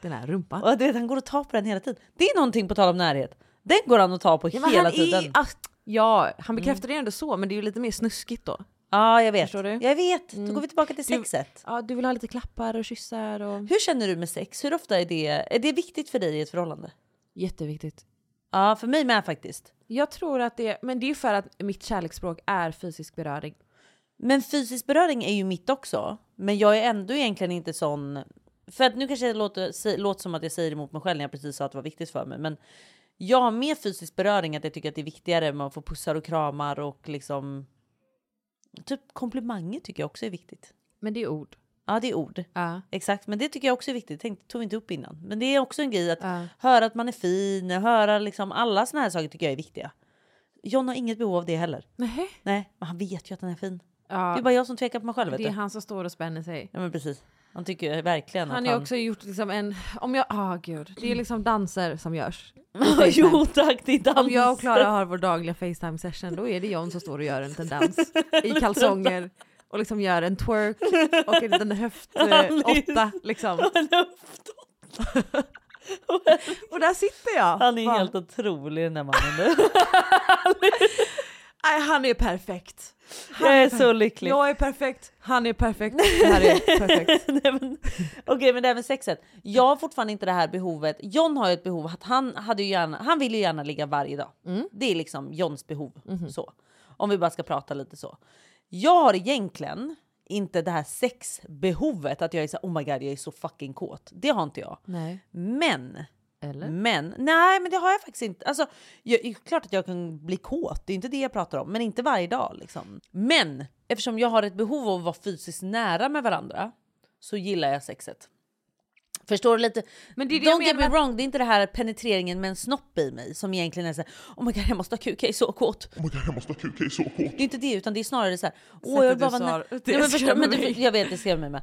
Den här rumpan.
och du vet, han går och tar på den hela tiden. Det är någonting på tal om närhet. Den går han och tar på
Ja, men
hela
han
tiden. Mm.
Är, ass- ja, han bekräftar det ändå så, men det är ju lite mer snuskigt då.
Ja, jag vet.
Förstår du?
Jag vet. Då går vi tillbaka till sexet.
Ja, du vill ha lite klappar och kyssar och...
Hur känner du med sex? Hur ofta är det, är det viktigt för dig i ett förhållande?
Jätteviktigt.
Ja, för mig med faktiskt.
Jag tror att det, men det är ju för att mitt kärleksspråk är fysisk beröring.
Men fysisk beröring är ju mitt också. Men jag är ändå egentligen inte sån... För att nu kanske det låter, se- låter som att jag säger emot mig själv när jag precis sa att det var viktigt för mig. Men jag har mer fysisk beröring att jag tycker att det är viktigare med att få pussar och kramar och liksom... Typ komplimanger tycker jag också är viktigt.
Men det är ord.
Ja, det är ord.
Ja.
Exakt, men det tycker jag också är viktigt. Tänk, tog vi inte upp innan. Men det är också en grej att
Ja.
höra att man är fin, höra liksom alla såna här saker tycker jag är viktiga. John har inget behov av det heller.
Nej.
Nej, men han vet ju att han är fin. Det är
Ja,
bara jag som tvekar på mig själv. Vet
det är
du?
han som står och spänner sig.
Ja, men precis. Han tycker ju verkligen
Han
att
har ju
han...
också gjort liksom en, om jag, ah gud, det är liksom danser som görs.
jo tack, det är dans.
Om jag och Klara har vår dagliga Facetime session då är det John som står och gör en liten dans i kalsonger och liksom gör en twerk och en liten höft eh, åtta liksom.
Han är,
Och där sitter jag.
han är
Bara,
helt otrolig den där mannen. du.
"Nej, han är perfekt.
Jag är så lycklig.
Jag är perfekt, han är perfekt, det här är perfekt.
Nej, men- Okej men det här med sexet. Jag har fortfarande inte det här behovet. John har ju ett behov att han, hade ju gärna, han vill ju gärna ligga varje dag. Det är liksom Johns behov.
Mhm.
Så. Om vi bara ska prata lite så. Jag har egentligen inte det här sexbehovet att jag är så här, oh my god jag är så fucking kåt. Det har inte jag.
Nej.
Men
Eller?
men nej, men det har jag faktiskt inte. Alltså, jag, det är klart att jag kan bli kåt, det är inte det jag pratar om, men inte varje dag liksom. Men eftersom jag har ett behov av att vara fysiskt nära med varandra så gillar jag sexet. Förstår du lite?
Men det är det jag
Don't get me
menar med-
wrong, det är inte det här penetreringen med en snopp i mig som egentligen är så här, oh my god jag måste ha kuk, jag är så kåt. Oh my god jag måste ha kuk, jag är så kåt. Det är inte det utan det är snarare så här, åh jag vill
Sättet
bara
du
vara
sa
nä-
det
Nej, men förstår-
skrämmer
men du-
mig.
Jag vet det skrämmer mig med.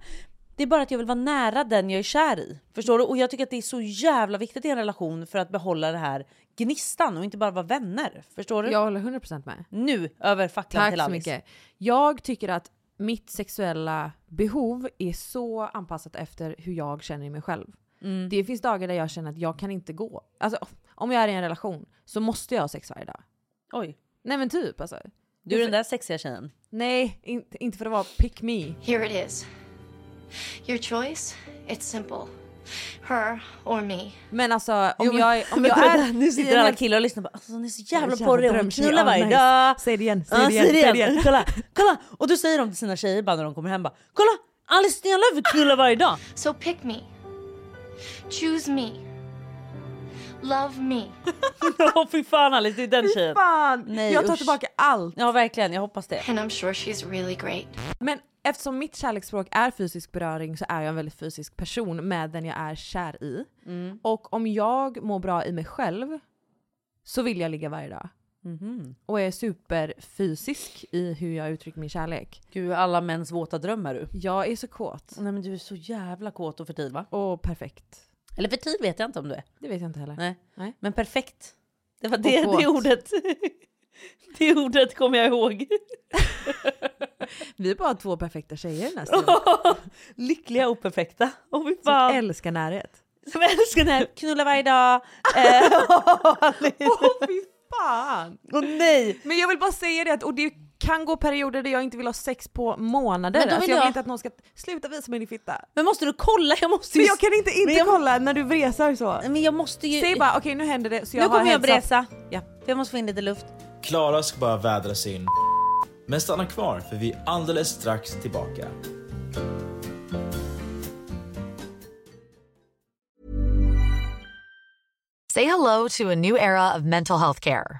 Det är bara att jag vill vara nära den jag är kär i. Förstår du? Och jag tycker att det är så jävla viktigt i en relation för att behålla det här gnistan och inte bara vara vänner. Förstår du?
Jag håller 100% med.
Nu över facklan
Tack
till
så
Alice.
mycket. Jag tycker att mitt sexuella behov är så anpassat efter hur jag känner mig själv.
Mm.
Det finns dagar där jag känner att jag kan inte gå. Alltså, om jag är i en relation så måste jag ha sex varje dag.
Oj,
Nej men typ alltså.
du är den där sexiga tjejen.
Nej, inte, inte för att vara pick me.
Here it is. Your choice, it's simple. Her or me.
Men alltså om
Jo, men-
jag, är- om
men
jag
vänta,
är...
Nu
i
sitter
en-
alla killar och lyssnar bara alltså, hon är så jävla
Jävla
porrig, hon
drömtjej,
knullar
ja,
varje
nice.
dag.
Säg det igen, säg
Ja,
det igen, säg det igen.
Kolla, kolla! Och då säger de till sina tjejer bara när de kommer hem bara kolla Alice Stenlöf knullar varje dag.
So pick me. Choose me. Love me.
Åh fy fan Alice, det är den tjejen.
Fan!
Nej,
jag tar
usch.
tillbaka allt.
Ja verkligen, jag hoppas det.
And I'm sure she's really great.
Men eftersom mitt kärleksspråk är fysisk beröring så är jag en väldigt fysisk person med den jag är kär i.
Mm.
Och om jag mår bra i mig själv så vill jag ligga varje dag.
Mhm.
Och är superfysisk i hur jag uttrycker min kärlek.
Gud alla mäns våta dröm är du.
Jag är så kåt.
Nej men du är så jävla kåt och för tid va?
Och perfekt.
Eller för tid vet jag inte om du är.
Det vet jag inte heller.
Nej.
Nej.
Men perfekt. Det var det,
kåt.
det ordet. det ordet kommer jag ihåg.
Vi är bara två perfekta tjejer nästan.
Lyckliga och perfekta. Åh fy
Som
fan.
älskar närhet. Eh,
Som älskar den här. Knulla varje dag.
Åh fy fan!
Åh nej!
Men jag vill bara säga det att och det kan gå perioder där jag inte vill ha sex på månader.
Men då
Alltså,
vill
jag vill
jag-
inte att någon ska sluta visa mig din fitta.
Men måste du kolla? Jag måste
Men
ju...
jag kan inte inte
Men jag-
kolla när du vresar så.
Men jag måste ju...
Säg bara okej nu händer det. Så jag
nu
har
kommer jag
hälsat.
bresa.
Ja.
För jag måste få in lite luft.
Klara ska bara vädra sin men stanna kvar för vi är alldeles strax tillbaka.
Say hello to a new era of mental health care.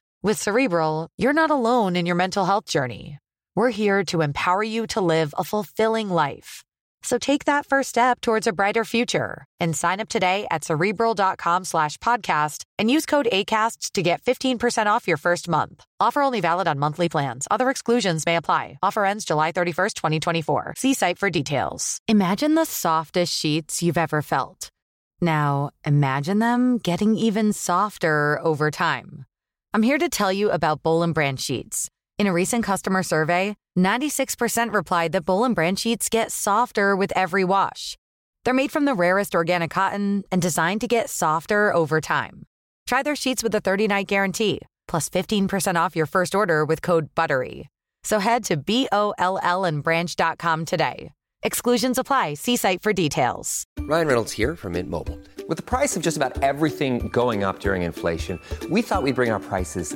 With Cerebral, you're not alone in your mental health journey. We're here to empower you to live a fulfilling life. So take that first step towards a brighter future and sign up today at cerebral.com slash podcast and use code ACAST to get 15% off your first month. Offer only valid on monthly plans. Other exclusions may apply. Offer ends July 31st, 2024. See site for details. Imagine the softest sheets you've ever felt. Now, imagine them getting even softer over time. I'm here to tell you about Bowl and Branch sheets. In a recent customer survey, 96% replied that Bowl and Branch sheets get softer with every wash. They're made from the rarest organic cotton and designed to get softer over time. Try their sheets with a 30-night guarantee, plus 15% off your first order with code BUTTERY. So head to B-O-L-L and branch.com today. Exclusions apply. See site for details.
Ryan Reynolds here from Mint Mobile. With the price of just about everything going up during inflation, we thought we'd bring our prices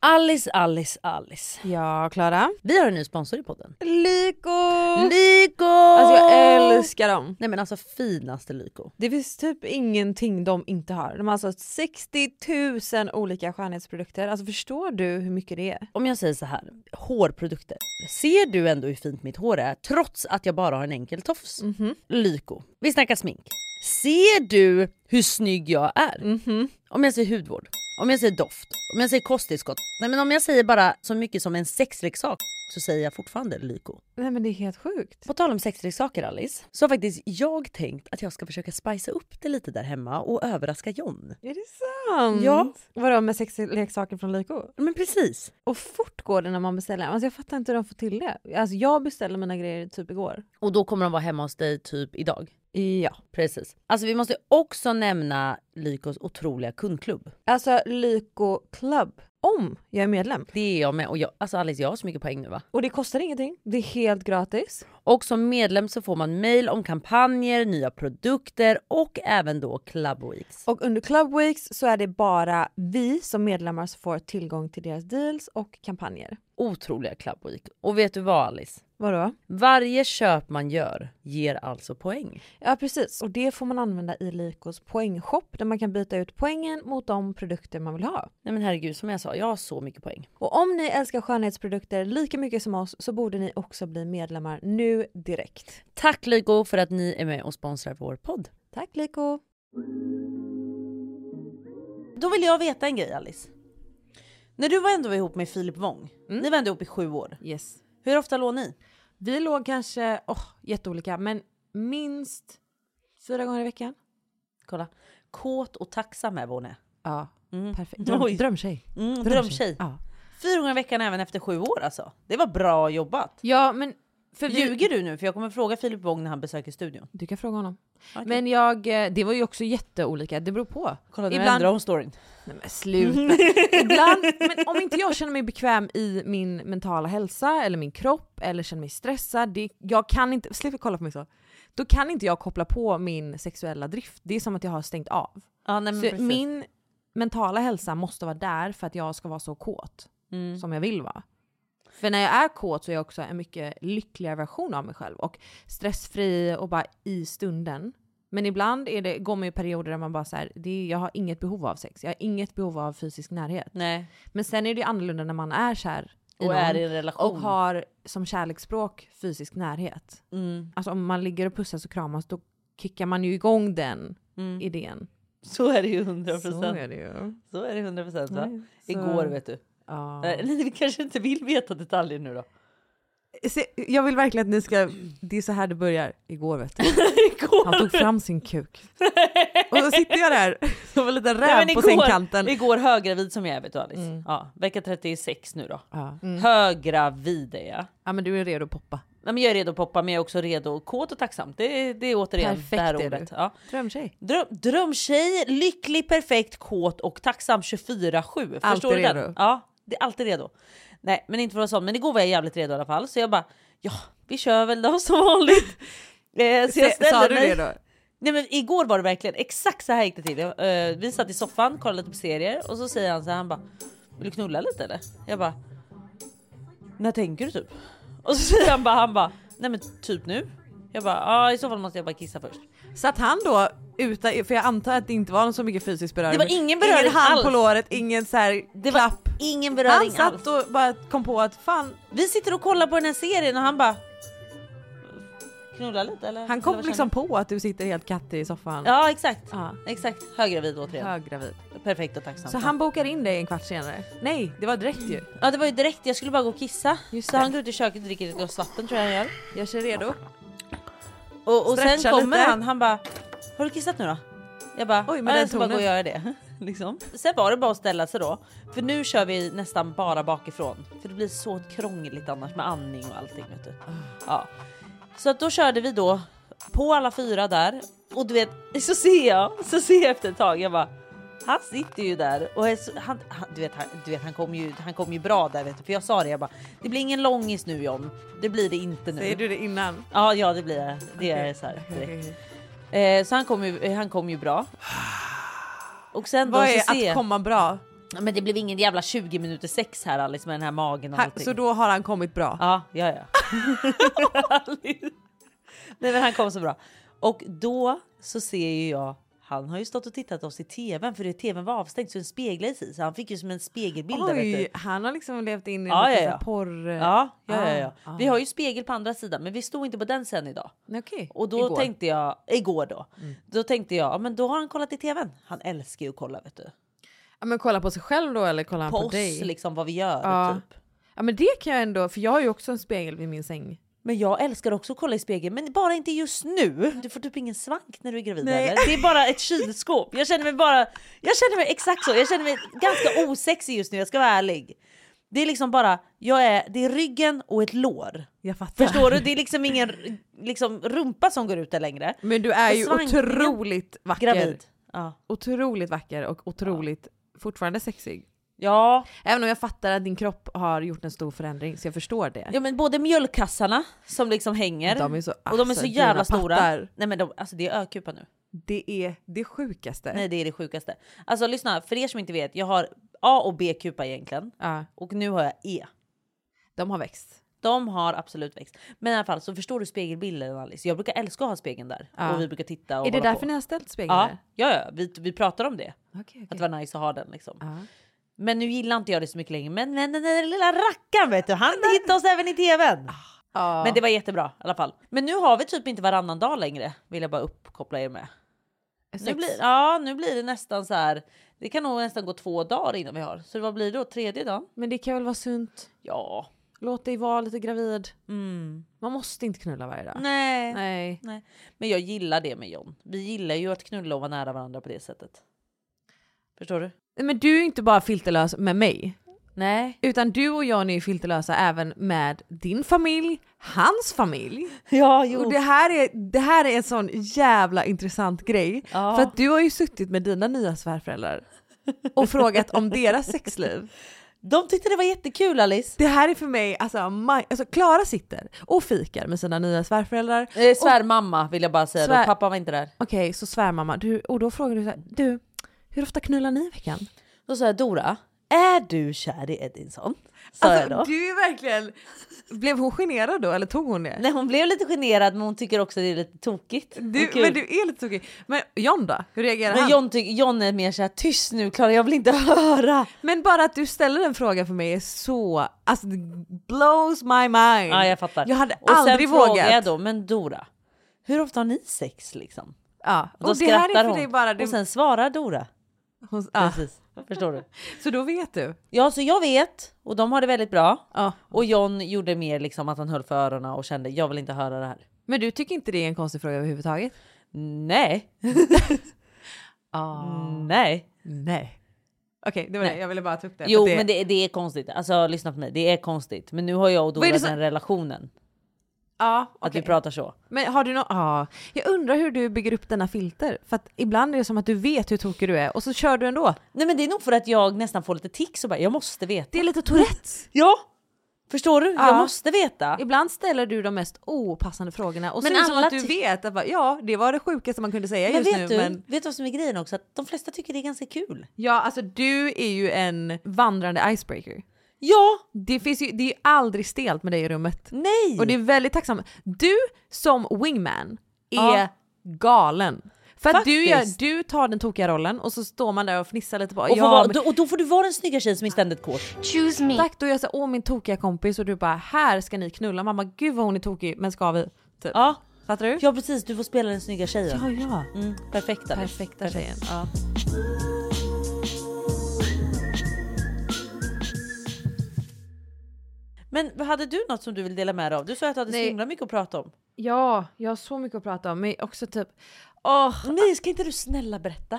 Alice, Alice, Alice.
Ja, Klara.
Vi har en ny sponsor i podden.
Lyko!
Lyko!
Alltså jag älskar dem.
Nej men alltså finaste Lyko.
Det finns typ ingenting de inte har. De har alltså 60 000 olika skönhetsprodukter. Alltså förstår du hur mycket det är?
Om jag säger så här, hårprodukter. Ser du ändå hur fint mitt hår är trots att jag bara har en enkel tofs? Lyko. Vi snackar smink. Ser du hur snygg jag är? Om jag säger hudvård, om jag säger doft, om jag säger kosttillskott. Nej men om jag säger bara så mycket som en sexleksak så säger jag fortfarande Lyko.
Nej men det är helt sjukt.
På tal om sexleksaker Alice, så har faktiskt jag tänkt att jag ska försöka spicea upp det lite där hemma och överraska John.
Är det sant?
Ja.
Vadå med sexleksaker från Lyko?
Men precis.
Och fort går det när man beställer. Alltså jag fattar inte hur de får till det. Alltså jag beställde mina grejer typ igår.
Och då kommer de vara hemma hos dig typ idag.
Ja.
Precis. Alltså vi måste också nämna Lykos otroliga kundklubb.
Alltså Lyko Club. Om jag är medlem.
Det är jag med. Och jag, alltså Alice, jag har så mycket poäng nu va?
Och det kostar ingenting. Det är helt gratis.
Och som medlem så får man mail om kampanjer, nya produkter och även då Club Weeks.
Och under Club Weeks så är det bara vi som medlemmar som får tillgång till deras deals och kampanjer.
Otroliga Club Week. Och vet du vad Alice?
Vadå?
Varje köp man gör ger alltså poäng.
Ja precis, och det får man använda i Lykos poängshop där man kan byta ut poängen mot de produkter man vill ha.
Nej men herregud, som jag sa, jag har så mycket poäng.
Och om ni älskar skönhetsprodukter lika mycket som oss så borde ni också bli medlemmar nu direkt.
Tack Lyko för att ni är med och sponsrar vår podd.
Tack Lyko!
Då vill jag veta en grej Alice. När du var ändå ihop med Filip Wong, ni var ändå ihop i sju år.
Yes.
Hur ofta låg ni?
Vi låg kanske, åh jätteolika, men minst fyra gånger i veckan.
Kolla. Kåt och tacksam är vad hon är.
Ja,
Mm.
perfekt. Dröm,
Oj.
drömtjej.
Mm, drömtjej.
Ja.
Fyra gånger i veckan även efter sju år alltså. Det var bra jobbat.
ja, men för vi,
Ljuger du nu? För jag kommer fråga Filip Wong när han besöker studion.
Du kan fråga honom.
Okej.
Men jag, eh, det var ju också jätteolika, det beror på.
Kolla nu
Ibland-
ändrar hon storyn.
Nej men sluta. Ibland, men om inte jag känner mig bekväm i min mentala hälsa eller min kropp eller känner mig stressad, det, jag kan inte, släpp kolla på mig så. Då kan inte jag koppla på min sexuella drift, det är som att jag har stängt av.
Ja, nej, men
så
precis.
min mentala hälsa måste vara där för att jag ska vara så kåt
Mm.
som jag vill vara. För när jag är kåt så är jag också en mycket lyckligare version av mig själv och stressfri och bara i stunden. Men ibland är det, går man ju perioder där man bara såhär, jag har inget behov av sex, jag har inget behov av fysisk närhet.
Nej.
Men sen är det ju annorlunda när man är kär i
Och
någon
är i en relation.
och har som kärleksspråk fysisk närhet.
Mm.
Alltså om man ligger och pussas och kramas då kickar man ju igång den
Mm.
idén.
Så är det ju 100
Så
procent.
är det ju.
Så är det 100 procent. va?
Nej, så-
Igår vet du.
Ja.
Nej, Ni kanske inte vill veta detaljer nu då?
Se, jag vill verkligen att ni ska... Det är så här det börjar. Igår vet du. Han tog fram sin kuk. Och så sitter jag där som en liten
Nej, men
räv på
igår-
sängkanten.
Igår höggravid som jag är vet du Alice. Ja, vecka 36 nu då.
Ja.
Höggravid är jag.
ja men du är redo att poppa.
Nej, men jag är redo att poppa men jag är också redo kåt och tacksam. Det, det är återigen det
Perfekt
här
är du.
ordet. Ja.
Drömtjej.
Dröm, drömtjej, lycklig, perfekt, kåt och tacksam 24-7.
Alltid
Förstår du den?
redo.
Ja, det är alltid redo. Nej, men inte för att vara sån. Men igår var jag jävligt redo i alla fall. Så jag bara, ja, vi kör väl då som vanligt. Eh, så jag
Se, sa
ställde
du
mig-
det då?
Nej men igår var det verkligen exakt så här gick det till. Jag, eh, vi satt i soffan, kollade lite på serier och så säger han så här, han bara Vill du knulla lite eller? Jag bara När tänker du typ? Och så säger han bara, han bara Nej men typ nu? Jag bara ja i så fall måste jag bara kissa först.
Satt han då utan, för jag antar att det inte var så mycket fysisk beröring.
Det var ingen beröring
ingen hand
alls.
på låret, ingen så här
Det var
klapp.
ingen
Han
beröring alls.
satt och bara kom på att fan,
Vi sitter och kollar på den här serien och han bara Knulla lite eller?
han
Eller
kom
vad
liksom på att du sitter helt kattig i soffan.
känner du? Ja exakt,
Ja.
exakt. Höggravid återigen.
Höggravid.
Perfekt och tacksam.
Så han bokar in dig en kvart senare? Nej, det var direkt ju.
Ja det var ju direkt, jag skulle bara gå och kissa.
Just
så
det.
han går ut i köket och dricker ett glas vatten tror jag han gör.
Jag kör redo.
Och, och sen
Stretcha
kommer
lite.
han, han bara Har du kissat nu då? Jag bara,
Oj,
Oj,
med
men
den
jag ska bara gå och
tonen."
göra det. liksom. Sen var det bara att ställa sig då. För nu kör vi nästan bara bakifrån. För det blir så krångligt annars med andning och allting. Vet du. Ja. Så att då körde vi då på alla fyra där. Och du vet, så ser jag, så ser jag efter ett tag, jag bara han sitter ju där och är så, han, han, du vet, han, du vet, han kom ju, han kom ju bra där vet du, för jag sa det jag bara det blir ingen långis nu John, det blir det inte nu.
Säger du det innan?
Ja, ja det blir jag. Det är så här direkt. Eh, så han kom, ju, eh, han kom ju bra. Och sen
Vad
då så
är
ser
att
jag-
komma bra?
Ja, Men det blev ingen jävla 20 minuter sex här Alice med den här magen och
Han,
allting.
så då har han kommit bra?
Ja, ja, ja. Alice. Nej men han kom så bra. Och då så ser ju jag han har ju stått och tittat oss i tvn för det, tvn var avstängd så den speglade sig så han fick ju som en spegelbild. där, vet du.
Oj, han har liksom levt in i
Ja,
lite
ja,
så
ja.
porr...
Ja, ja, ja, ja.
Ah,
Vi har ju spegel på andra sidan men vi stod inte på den sen idag.
Nej, Okej.
Och då
Igår. Mm.
tänkte jag, igår då, då tänkte jag, ja men då har han kollat i tvn. Han älskar ju att kolla vet du.
Ja, men kolla på sig själv då eller
På
kolla på, på
oss
dig?
liksom, vad vi gör
Ja.
typ.
Ja men det kan jag ändå, för jag har ju också en spegel vid min säng.
Men jag älskar också att kolla i spegeln, men bara inte just nu. Du får typ ingen svank när du är gravid
Nej.
heller. Det är bara ett kylskåp. Jag känner mig bara, jag känner mig exakt så. Jag känner mig ganska osexig just nu, jag ska vara ärlig. Det är liksom bara, jag är, det är ryggen och ett lår.
Jag fattar.
Förstår du? Det är liksom ingen liksom, rumpa som går ut där längre.
Men du är
Och
ju
svankningen-
otroligt vacker.
Gravid. Ja.
Otroligt vacker och otroligt, fortfarande sexig.
ja,
Även om jag fattar att din kropp har gjort en stor förändring så jag förstår det.
Ja men både mjölkkassarna som liksom hänger
De är så,
och de är
alltså,
så jävla
dina
stora.
pattar. Eh.
Nej men de, alltså det är ökupa nu.
Det är det sjukaste.
Nej det är det sjukaste. Alltså lyssna, för er som inte vet, jag har A och B-kupa egentligen
Ja,
och nu har jag E.
de har växt.
De har absolut växt. Men i alla fall så förstår du spegelbilden Alice. Jag brukar älska att ha spegeln där
Ja.
och vi brukar titta och
är det
hålla
därför
på.
ni har ställt spegeln
Ja,
där?
ja, ja. Vi, vi pratar om det.
Okej,
Att
okej.
det var nice att ha den liksom.
Ja.
Men nu gillar inte jag det så mycket längre. Men, men den där lilla rackaren vet du, han hittade oss även i tvn.
Ja.
Men det var jättebra i alla fall. Men nu har vi typ inte varannan dag längre, vill jag bara uppkoppla er med. Nu
Sex.
blir, ja, nu blir det nästan så här. Det kan nog nästan gå två dagar innan vi har. Så vad blir det då? Tredje dagen?
Men det kan väl vara sunt?
Ja.
Låt dig vara lite gravid.
Mm.
Man måste inte knulla varje dag.
Nej.
Nej.
Nej. Men jag gillar det med John. Vi gillar ju att knulla och vara nära varandra på det sättet. Förstår du?
Men du är ju inte bara filterlös med mig.
Nej.
Utan du och jag är ju filterlösa även med din familj, hans familj.
Ja, jo.
Och det här, är, det här är en sån jävla intressant grej.
Ja.
För att du har ju suttit med dina nya svärföräldrar och frågat om deras sexliv.
De tyckte det var jättekul Alice.
Det här är för mig, alltså, maj- alltså Klara sitter och fikar med sina nya svärföräldrar.
Eh, svärmamma vill jag bara säga
Svär-
då. Pappa var inte där.
Okej, så svärmamma, du, och då frågar du så här, du, hur ofta knullar ni i veckan?
Då sa jag Dora, Är du kär i Edinson? Sa jag då.
Alltså du är verkligen... Blev hon generad då eller tog hon det?
Nej hon blev lite generad men hon tycker också att det är lite tokigt.
Du, men du är lite tokig. Men John då? Hur reagerar
men
han?
John, tyck, John är mer såhär tyst nu Klara jag vill inte höra.
Men bara att du ställer den frågan för mig är så... Alltså det blows my mind.
Ja jag fattar.
Jag hade
och sen
aldrig
frågar
vågat.
jag då, men Dora, hur ofta har ni sex liksom?
Ja,
Och då
och det här
skrattar
är för
hon.
dig bara... Det,
Och sen svarar Dora.
hon, ah. ja.
Precis, förstår du?
Så då vet du.
Ja, så jag vet och de har det väldigt bra. Och John gjorde mer liksom att han höll för öronen och kände jag vill inte höra det här.
Men du tycker inte det är en konstig fråga överhuvudtaget?
Nej.
Ah.
Nej.
Nej. Okej, det var
Nej.
det. Jag ville bara ta upp det. för
Jo,
att det...
men det, det är konstigt. Alltså lyssna på mig, det är konstigt. Men nu har jag och
Vad är
Dora
det som-
den relationen.
Ja,
Att vi pratar så.
Men har du någon... Ja. Jag undrar hur du bygger upp denna filter. För att ibland är det som att du vet hur tokig du är och så kör du ändå.
Nej men det är nog för att jag nästan får lite tics och bara jag måste veta.
Det är lite Tourettes.
Ja! Förstår du?
Ja.
Jag måste veta.
Ibland ställer du de mest opassande frågorna och
Men
så är det som
alla
att du
ty-
vet att bara, ja, det var det sjukaste man kunde säga
Men
just
vet
nu.
du
Men
vet du vad som är grejen också? Att de flesta tycker det är ganska kul.
ja, alltså du är ju en vandrande icebreaker.
Ja!
Det, finns ju, det är ju aldrig stelt med dig i rummet.
Nej!
Och det är väldigt tacksam. Du som wingman är
Ja.
galen. För att du,
Faktiskt.
gör, du tar den tokiga rollen och så står man där och fnissar lite på
Och, får
ja,
vara,
men-
då, och då får du vara den snygga tjejen som är ständigt kåt.
Choose me.
Exakt, och jag sa åh min tokiga kompis och du bara här ska ni knulla. Mamma gud vad hon är tokig men ska vi? Typ.
Ja.
Fattar du?
Ja precis, du får spela den snygga tjejen.
Ja, ja.
Mm, perfekta.
Perfekta tjejen. Ja.
Men hade du något som du vill dela med dig av? Du sa att du hade
Nej.
så himla mycket att prata om.
ja, jag har så mycket att prata om men också typ åh,
Nej, ska inte du snälla berätta?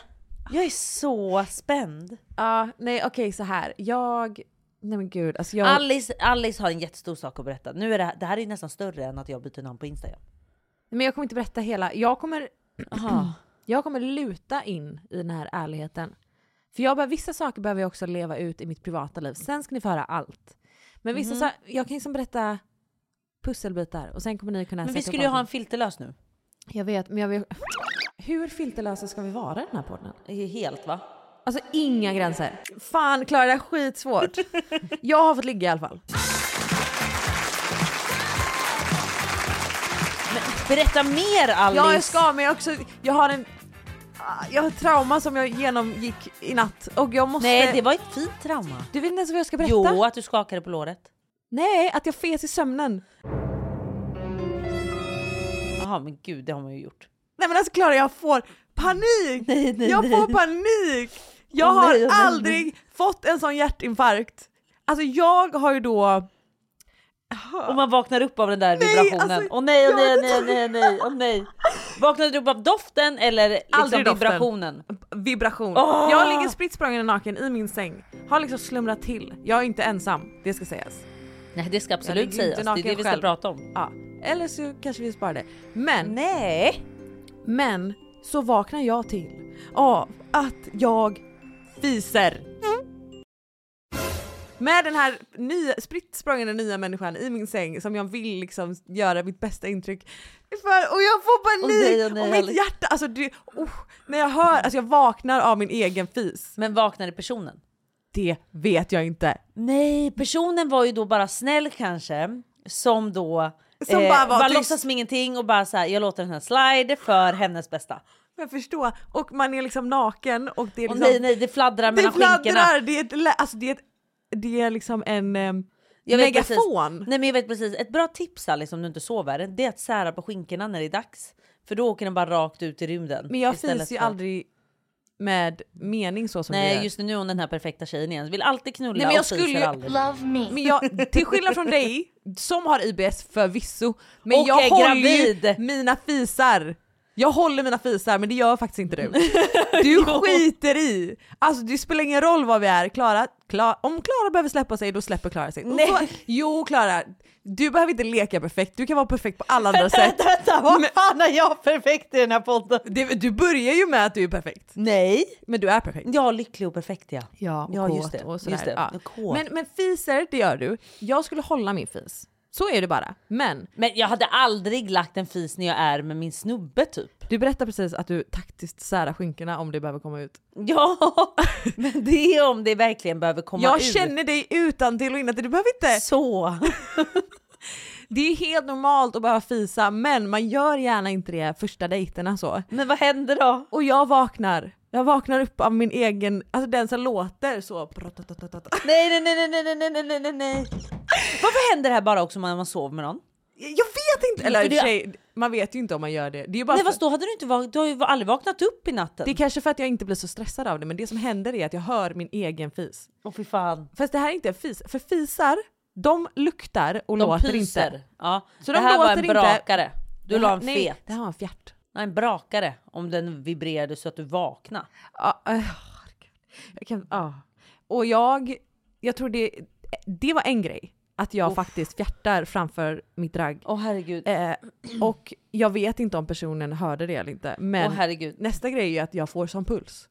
Jag är så spänd.
ja, nej okej så här. Jag, nej men gud alltså jag.
Alice, Alice har en jättestor sak att berätta. Nu är det, här- det här är nästan större än att jag byter namn på Instagram.
Men jag kommer inte berätta hela. Jag kommer,
Mm. Alltså,
jag kommer luta in i den här ärligheten. För jag bara, vissa saker behöver jag också leva ut i mitt privata liv. Sen ska ni få höra allt. Men vissa
Mhm.
saker, jag kan liksom berätta pusselbitar och sen kommer ni kunna
Men vi
sätta
skulle ju
upp
ha en
allting.
filterlös nu.
Jag vet, men jag vill... Hur filterlösa ska vi vara i den här podden?
Helt va?
Alltså inga gränser. Fan Klara, det här är skitsvårt. jag har fått ligga i alla fall.
Berätta mer Alice!
Ja, jag ska, men jag, också, jag har en... ah, Jag har ett trauma som jag genomgick i natt och jag måste...
Nej, det var ett fint trauma.
Du vet inte ens vad jag ska berätta?
Jo, att du skakade på låret.
Nej, att jag fes i sömnen.
Jaha, men gud, det har man ju gjort.
Nej men alltså Klara, jag får panik!
Nej, nej,
jag
nej.
får panik! Jag
Åh,
har
nej, åh, nej,
aldrig fått en sån hjärtinfarkt. Alltså jag har ju då...
Och man vaknar upp av den där vibrationen.
alltså,
åh nej, åh
jag
nej, åh
vet
nej, åh nej, åh nej, åh nej. Vaknade du upp av doften eller liksom
Aldrig doften.
vibrationen?
Vibration.
Åh!
Jag ligger spritt språngande naken i min säng. Har liksom slumrat till. Jag är inte ensam, det ska sägas.
Nej, det ska
Jag
absolut
ligger ju
sägas. Det
inte
är det
naken
vi ska
själv.
prata om.
Ja. Eller så kanske vi sparar det. Men
Nej!
Men så vaknar jag till av att jag fiser. Med den här nya, spritt språngande nya människan i min säng som jag vill liksom göra mitt bästa intryck för och jag får panik!
Åh nej, åh nej,
och
Alex.
mitt hjärta, alltså det, oh, när jag hör, alltså jag vaknar av min egen fis.
Men vaknade personen?
Det vet jag inte.
Nej, personen var ju då bara snäll kanske. Som då eh,
Som bara var tyst.
låtsas som ingenting och bara så här, jag låter den här slide för hennes bästa.
Men jag förstår, och man är liksom naken och det är
Och
liksom,
nej, nej, det fladdrar
det
mellan skinkorna.
fladdrar, det är, ett, lä- alltså det är, ett, det är liksom en eh,
Jag vet
megafon.
Precis, nej men jag vet precis. Ett bra tips Alice om du inte sover, det är att sära på skinkorna när det är dags. För då åker den bara rakt ut i rymden.
Men jag
istället
finns ju
för-
aldrig med mening så som du
Nej
gör.
just nu, nu är hon den här perfekta tjejen igen. Vill alltid knulla
Nej, men jag
och
skulle
fiser
ju-
aldrig.
Love me.
Men jag, till skillnad från dig som har IBS förvisso, men
Och
jag
är
håller ju
gravid.
mina fisar. Jag håller mina fisar men det gör faktiskt inte du. Du skiter i! Alltså det spelar ingen roll vad vi är, Klara, Kla- om Klara behöver släppa sig då släpper Klara sig. Och
Nej.
Så, jo Klara, du behöver inte leka perfekt, du kan vara perfekt på alla andra sätt.
Vänta, vad fan är jag perfekt i den här podden?
Det, du börjar ju med att du är perfekt,
Nej!
men du är perfekt.
Ja lycklig och perfekt ja.
Ja, och
Ja,
kåt
just det,
och sådär.
just det.
Ja.
Kåt.
Men, men fiser, det gör du. Jag skulle hålla min fis. Så är det bara. Men,
Men jag hade aldrig lagt en fis när jag är med min snubbe typ.
Du berättar precis att du taktiskt särar skinkorna om det behöver komma ut.
Ja, men det är om det verkligen behöver komma
jag
ut.
känner dig utan till och innan till. du behöver inte...
Så!
det är helt normalt att behöva fisa men man gör gärna inte det första dejterna så.
Men vad händer då?
Och jag vaknar. Jag vaknar upp av min egen, alltså den som låter så.
Nej, nej, nej, nej, nej, nej, nej, nej, nej, nej. Varför händer det här bara också när man sover med någon?
Jag vet inte! Eller i och för sig, man vet ju inte om man gör det. Det, är ju bara
Nej
för,
fast då hade du inte vak- du har ju aldrig vaknat upp i natten.
det är kanske för att jag inte blir så stressad av det men det som händer är att jag hör min egen fis.
Åh fy fan.
Fast det här är inte en fis, för fisar de luktar och
De
låter
pyser.
inte.
Ja.
Så
det
de
här var
låter
en
inte.
brakare. Du
Det här-
la en
nej,
fet.
Det här var en fjärt.
Nej, en brakare. Om den vibrerade så att du vaknade.
Ja, eh, herregud. jag kan, ja. Och jag, jag tror det, det var en grej. Att jag
Uff.
faktiskt fjärtar framför mitt drag.
Åh herregud.
Eh, och jag vet inte om personen hörde det eller inte. Men
Åh, herregud.
nästa grej är ju att jag får som puls.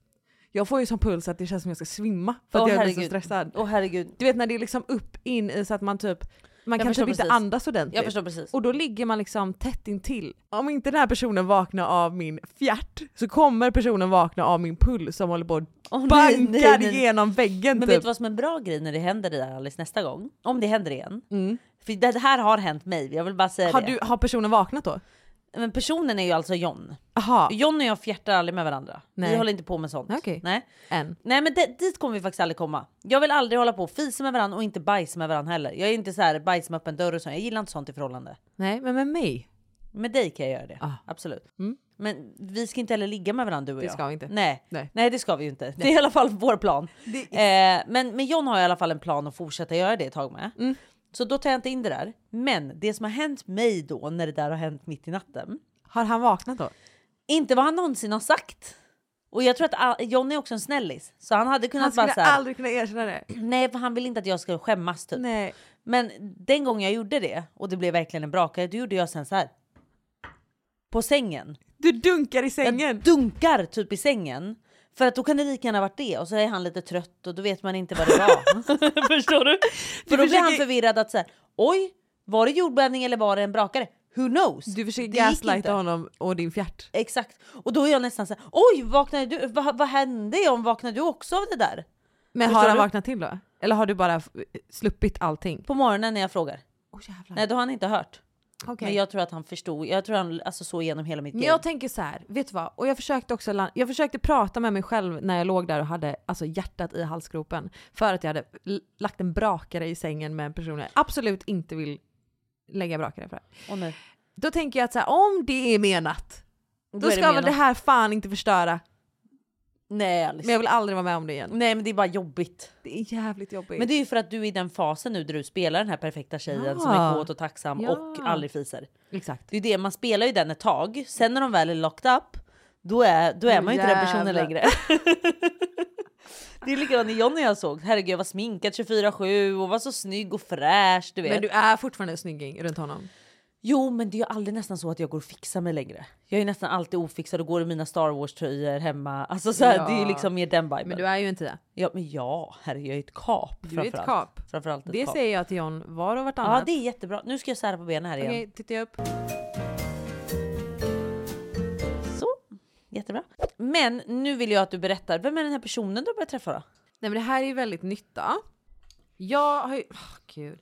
Jag får ju som puls att det känns som jag ska svimma för att
Åh,
jag blir så
herregud.
stressad.
Åh herregud.
Du vet när det är liksom upp in i så att man typ man
Jag
kan typ
förstår
inte
precis.
andas ordentligt.
Jag förstår precis.
typ. Och då ligger man liksom tätt intill. Om inte den här personen vaknar av min fjärt så kommer personen vakna av min puls som håller på och
Åh, nej,
bankar
nej, nej.
genom väggen
Men
typ.
vet du vad som är en bra grej när det händer det där Alice nästa gång? Om det händer igen. För det här har hänt mig, jag vill bara säga
Mm. har,
det.
du, har personen vaknat då?
Men personen är ju alltså John.
Aha.
John och jag fjärtar aldrig med varandra.
Nej.
Vi håller inte på med sånt.
Okej.
Nej.
Än.
Nej men det, dit kommer vi faktiskt aldrig komma. Jag vill aldrig hålla på och fisa med varandra och inte bajsa med varandra heller. Jag är inte så här bajs med öppen dörr och sånt. Jag gillar inte sånt i förhållande.
Nej, men med mig.
Med dig kan jag göra det. Absolut. Men vi ska inte heller ligga med varandra du och
Ah. Mm. Det
jag.
ska vi inte.
Nej.
Nej.
Nej. det ska vi ju inte. Det är i alla fall vår plan. Eh, men med John har jag i alla fall en plan att fortsätta göra det ett tag med.
Mm.
Så då tar jag inte in det där. Men det som har hänt mig då när det där har hänt mitt i natten.
Har han vaknat
Alltså,
då?
Inte vad han någonsin har sagt. Och jag tror att all- John är också en snällis. Så han hade kunnat
Han skulle
bara så här,
aldrig kunna erkänna det.
Nej, för han vill inte att jag ska skämmas typ.
Nej.
Men den gången jag gjorde det och det blev verkligen en brakare, då gjorde jag sen så här. På sängen.
Du dunkar i
Jag
sängen.
dunkar typ i sängen. För att då kan det lika gärna varit det och så är han lite trött och då vet man inte vad det var. Förstår du? För då blir han
försöker-
förvirrad att så här, oj, var det jordbävning eller var det en brakare? Who knows?
Du försöker
Det gick
gaslighta
inte.
honom och din fjärt.
Exakt. Och då är jag nästan så här, oj, vaknade du? Va, vad hände om vaknade du också av det där?
Men
Förstår
har han
du?
vaknat till då? Eller har du bara f- sluppit allting?
På morgonen när jag frågar.
Åh jävlar.
Nej, då har han inte hört.
Ah. Okej.
Men jag tror att han förstod. Jag tror han alltså, såg igenom hela mitt
Men
liv.
jag tänker så här, vet du vad? Och jag försökte också lan- jag försökte prata med mig själv när jag låg där och hade alltså, hjärtat i halsgropen. För att jag hade l- lagt en brakare i sängen med en person jag absolut inte vill lägga brakare för.
Åh, nej.
Då tänker jag att så här, om det är menat, då,
är det
ska väl
menat.
det här fan inte förstöra.
Nej, Alice.
Men jag vill aldrig vara med om det igen.
Nej, men det är bara jobbigt.
Det är jävligt jobbigt.
Men det är ju för att du är i den fasen nu där du spelar den här perfekta tjejen som
Ja.
är kåt och tacksam
Ja.
och aldrig fiser.
Exakt.
Det är ju det, man spelar ju den ett tag. Sen när de väl är locked up, då är, då är
Nu
man ju inte den personen
jävlar.
längre. det är likadant när Johnny jag såg. Herregud, jag var sminkad 24-7 och var så snygg och fräsch. Du vet.
Men du är fortfarande en snygging runt honom.
Jo, men det är ju aldrig nästan så att jag går och fixar mig längre. Jag är nästan alltid ofixad och går i mina Star Wars-tröjor hemma. Alltså så här,
Ja.
det är ju liksom mer den viben.
Men du är ju en tia.
Ja, men ja, herre, jag är ett kap.
Du är ett
framförallt.
kap.
Framförallt ett
Det
kap.
säger jag till John var och vartannat.
Ja, det är jättebra. Nu ska jag sära på benen här igen.
Okej, tittar jag upp.
Så, jättebra. Men nu vill jag att du berättar. Vem är den här personen du har börjat träffa då?
Nej men det här är ju väldigt nytta. Jag har ju, åh, gud.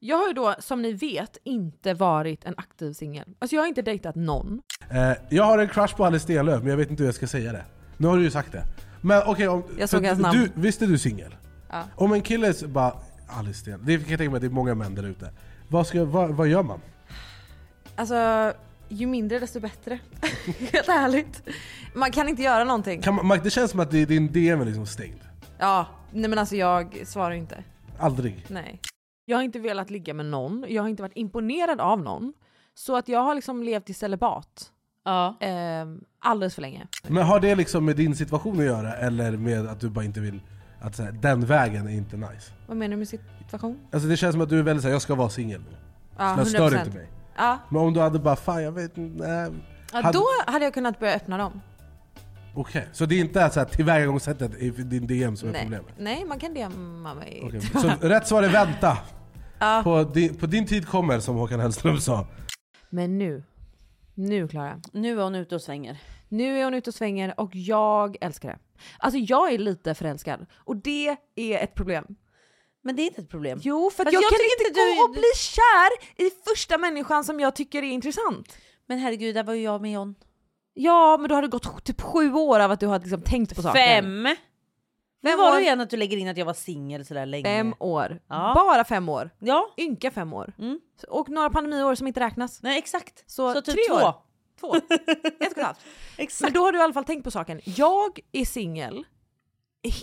Jag har ju då som ni vet inte varit en aktiv singel. Alltså jag har inte dejtat någon.
Eh, jag har en crush på Alice Stenlöf, men jag vet inte hur jag ska säga det. Nu har du ju sagt det. Men okej, om-
Jag såg
för
hans
du-
namn.
du- Visst är du singel?
Ja.
Om en kille s- bara Alice Stenlöf, det kan jag tänka mig att det är många män där ute. Vad, ska, vad, vad gör man?
Alltså ju mindre desto bättre. Helt ärligt. Man kan inte göra någonting.
Kan man, man- det känns som att det, din DM är liksom stängd.
Ja, nej men alltså jag svarar ju inte.
Aldrig.
Nej. Jag har inte velat ligga med någon. Jag har inte varit imponerad av någon. Så att jag har liksom levt i celibat.
Ja.
Ehm, alldeles för länge.
Men har det liksom med din situation att göra, eller med att du bara inte vill... Att så här, den vägen är inte nice?
Vad menar du med situation?
Alltså det känns som att du är väldigt såhär, jag ska vara singel nu.
Ja,
Men stör
100%.
inte mig.
Ja.
Men om du hade bara, fan jag vet inte, nej.
Ja,
Hade-
då hade jag kunnat börja öppna dem.
Okej, så det är inte så här, tillvägagångssättet i din DM som är
Nej.
problemet?
Nej, man kan DMa mig.
Okej, Så rätt svar är vänta.
Ja.
På, din, på din tid kommer, som Håkan Hellström sa.
Men nu. Nu Klara.
Nu är hon ute och svänger.
Nu är hon ute och svänger och jag älskar det. Alltså jag är lite förälskad och det är ett problem.
Men det är inte ett problem.
Jo, för
Fast
att Alltså, jag,
jag
kan
tycker
inte
inte
gå
du-
och bli kär i första människan som jag tycker är intressant.
Men herregud, där var ju jag med John.
Ja, men då har det gått typ sju år av att du har liksom tänkt på saken.
Fem! Vem
år?
var du igen att du lägger in att jag var singel sådär länge?
Fem år.
Ja.
Bara fem år.
Ja.
Ynka fem år. Och några pandemiår som inte räknas.
Nej exakt.
Så,
Så typ
tre
två.
år. Två. Ett och ett halvt. Men då har du i alla fall tänkt på saken. Jag är singel,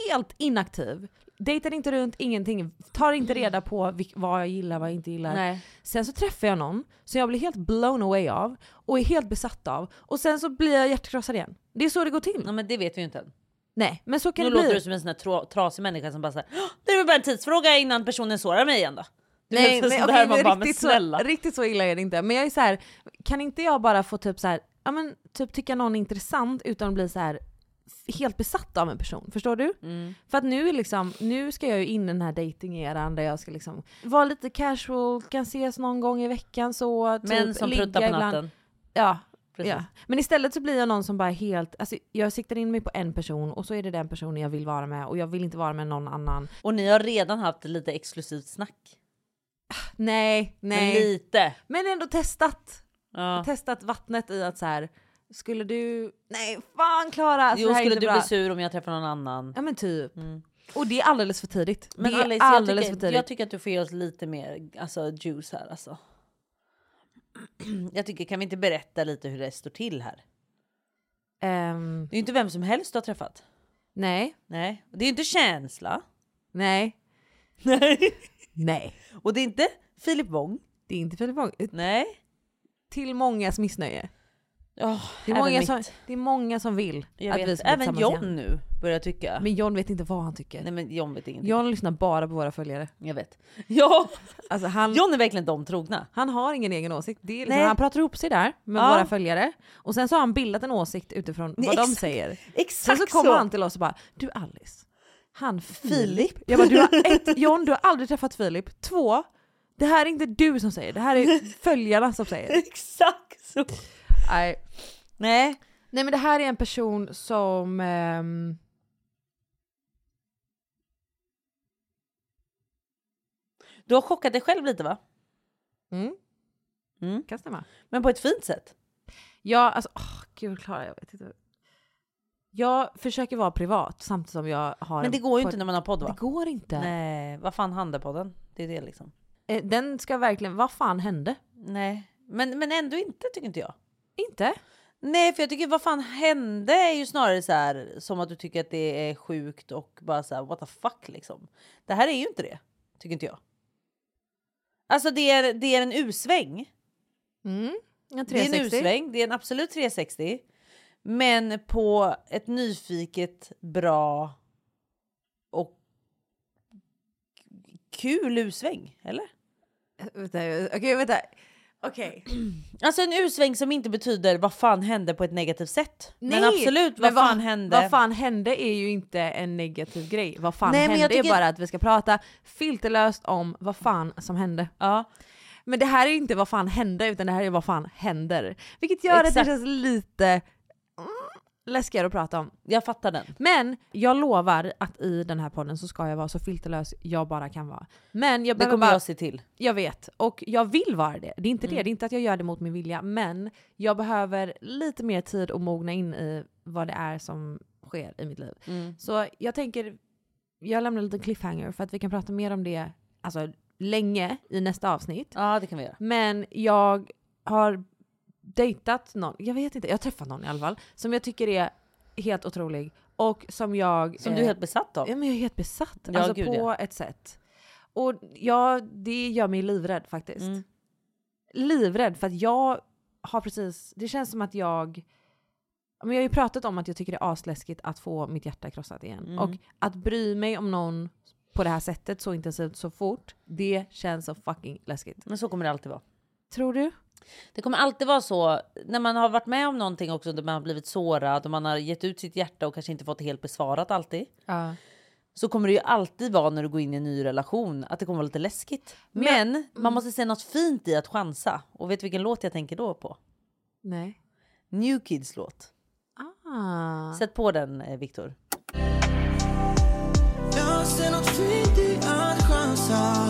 helt inaktiv, dejtar inte runt, ingenting, tar inte reda på vilk- vad jag gillar, vad jag inte gillar.
Nej.
Sen så träffar jag någon som jag blir helt blown away av och är helt besatt av och sen så blir jag hjärtkrossad igen. Det är så det går till.
Ja, men det vet vi ju inte än.
Nej, men så kan
Nu
det bli.
låter du som en sån här tra- trasig människa som bara såhär "Åh, det är väl bara en tidsfråga innan personen sårar mig igen då. Du
Nej,
vet, så
men,
där
okej,
man
men
bara, men
riktigt, så,
snälla.
riktigt så illa är det inte. Men jag är så här, kan inte jag bara få typ så här, ja men typ tycka någon är intressant utan att bli så här helt besatt av en person. Förstår du?
Mm.
För att nu är liksom, nu ska jag ju in i den här dejtingeran där jag ska liksom vara lite casual, kan ses någon gång i veckan så. Typ,
Män som
ligga
pruttar på
ibland.
natten.
Ja.
Precis.
ja. Men istället så blir jag någon som bara är helt, alltså jag siktar in mig på en person och så är det den personen jag vill vara med och jag vill inte vara med någon annan.
Och ni har redan haft lite exklusivt snack.
Nej,
Men
nej.
lite.
Men ändå testat.
Ja.
Testat vattnet i att så här. skulle du... Nej fan Klara! så
Jo
här är
skulle
inte
du
bra.
bli sur om jag träffar någon annan?
Ja men typ. Och det är alldeles för tidigt.
Men
det är
Alice, jag
alldeles
tycker,
för tidigt.
jag tycker att du får ge oss lite mer alltså, juice här alltså. Jag tycker, kan vi inte berätta lite hur det står till här?
Ehm,
Det är ju inte vem som helst du har träffat.
nej.
Nej. Det är ju inte känsla.
Nej.
Nej.
Nej.
Och det är inte Filip Wong.
Det är inte Filip Wong.
Nej.
Till mångas missnöje.
Oh,
Det är, många som, det är många som vill
Jag
att vi
vet,
ska bli
även John
tillsammans igen.
nu börjar tycka.
Men John vet inte vad han tycker.
Nej men John vet ingenting.
John lyssnar bara på våra följare.
Jag vet. Ja,
Alltså han,
John är verkligen de trogna.
Han har ingen egen åsikt. Det är liksom,
Nej.
han pratar ihop sig där med
Ja.
våra följare och sen så har han bildat en åsikt utifrån vad
Nej,
de
exakt.
säger.
Exakt
sen så kommer
så.
han till oss och bara “du Alice, han Filip”.
Filip.
Jag bara, du har, ett, John, du har aldrig träffat Filip. Två, det här är inte du som säger det, här är följarna som säger.
Exakt så.
Nej.
Nej.
Nej men det här är en person som... ehm,
Du har chockat dig själv lite va?
mm,
Mm.
kan stämma.
Men på ett fint sätt.
Jag, alltså, åh, gud Klara, jag vet inte. Jag försöker vara privat samtidigt som jag har...
Men det
en-
går ju
på-
inte när man har podd va?
Det går inte.
Nej, vad fan hände podden? Det är det liksom.
Eh, Den ska verkligen, vad fan hände?
Nej, men, men ändå inte tycker inte jag.
Inte?
Nej, för jag tycker vad fan hände är ju snarare så här som att du tycker att det är sjukt och bara så här what the fuck liksom. Det här är ju inte det, tycker inte jag. Alltså det är, det är en usväng.
Mm. En
Det är en
360.
usväng, det är en absolut 360. Men på ett nyfiket, bra och kul usväng, eller?
Vänta, Okej, vänta. Okej.
Alltså en usväng som inte betyder vad fan hände på ett negativt sätt. men
Nej,
absolut,
men
vad fan hände?
Vad fan hände är ju inte en negativ grej. Vad fan
Nej, men
hände
jag
är
tycker-
bara att vi ska prata filterlöst om vad fan som hände.
Ja.
Men det här är ju inte vad fan hände utan det här är vad fan händer. Vilket gör att
Exakt.
det känns lite mm, läskigare att prata om.
Jag fattar den.
Men jag lovar att i den här podden så ska jag vara så filterlös jag bara kan vara. Men jag
Det
behöver
kommer
bara
jag se till.
Jag vet, och jag vill vara det. Det är
Mm.
inte det, det är inte att jag gör det mot min vilja. Men jag behöver lite mer tid att mogna in i vad det är som sker i mitt liv.
Mm.
Så jag tänker, jag lämnar en liten cliffhanger för att vi kan prata mer om det alltså, länge i nästa avsnitt.
Ja, det kan vi göra.
Men jag har dejtat någon, jag vet inte, jag har träffat någon i alla fall, som jag tycker är helt otrolig. Och som jag...
Som du är helt besatt av.
Eh. Ja, men jag är helt besatt.
Ja,
alltså
gud,
på
ja.
ett sätt. Och ja, det gör mig livrädd faktiskt.
Mm.
Livrädd för att jag har precis, det känns som att jag men jag har ju pratat om att jag tycker det är asläskigt att få mitt hjärta krossat igen.
Mm.
Och att bry mig om någon på det här sättet så intensivt så fort, det känns så fucking läskigt.
Men så kommer det alltid vara.
Tror du?
Det kommer alltid vara så när man har varit med om någonting också där man har blivit sårad och man har gett ut sitt hjärta och kanske inte fått det helt besvarat alltid.
Ja.
så kommer det ju alltid vara när du går in i en ny relation att det kommer vara lite läskigt. Men man måste se något fint i att chansa. Och vet du vilken låt jag tänker då på?
Nej.
New Kids låt.
Ah.
Sätt på den eh, Viktor.
Jag ser något fint i att chansa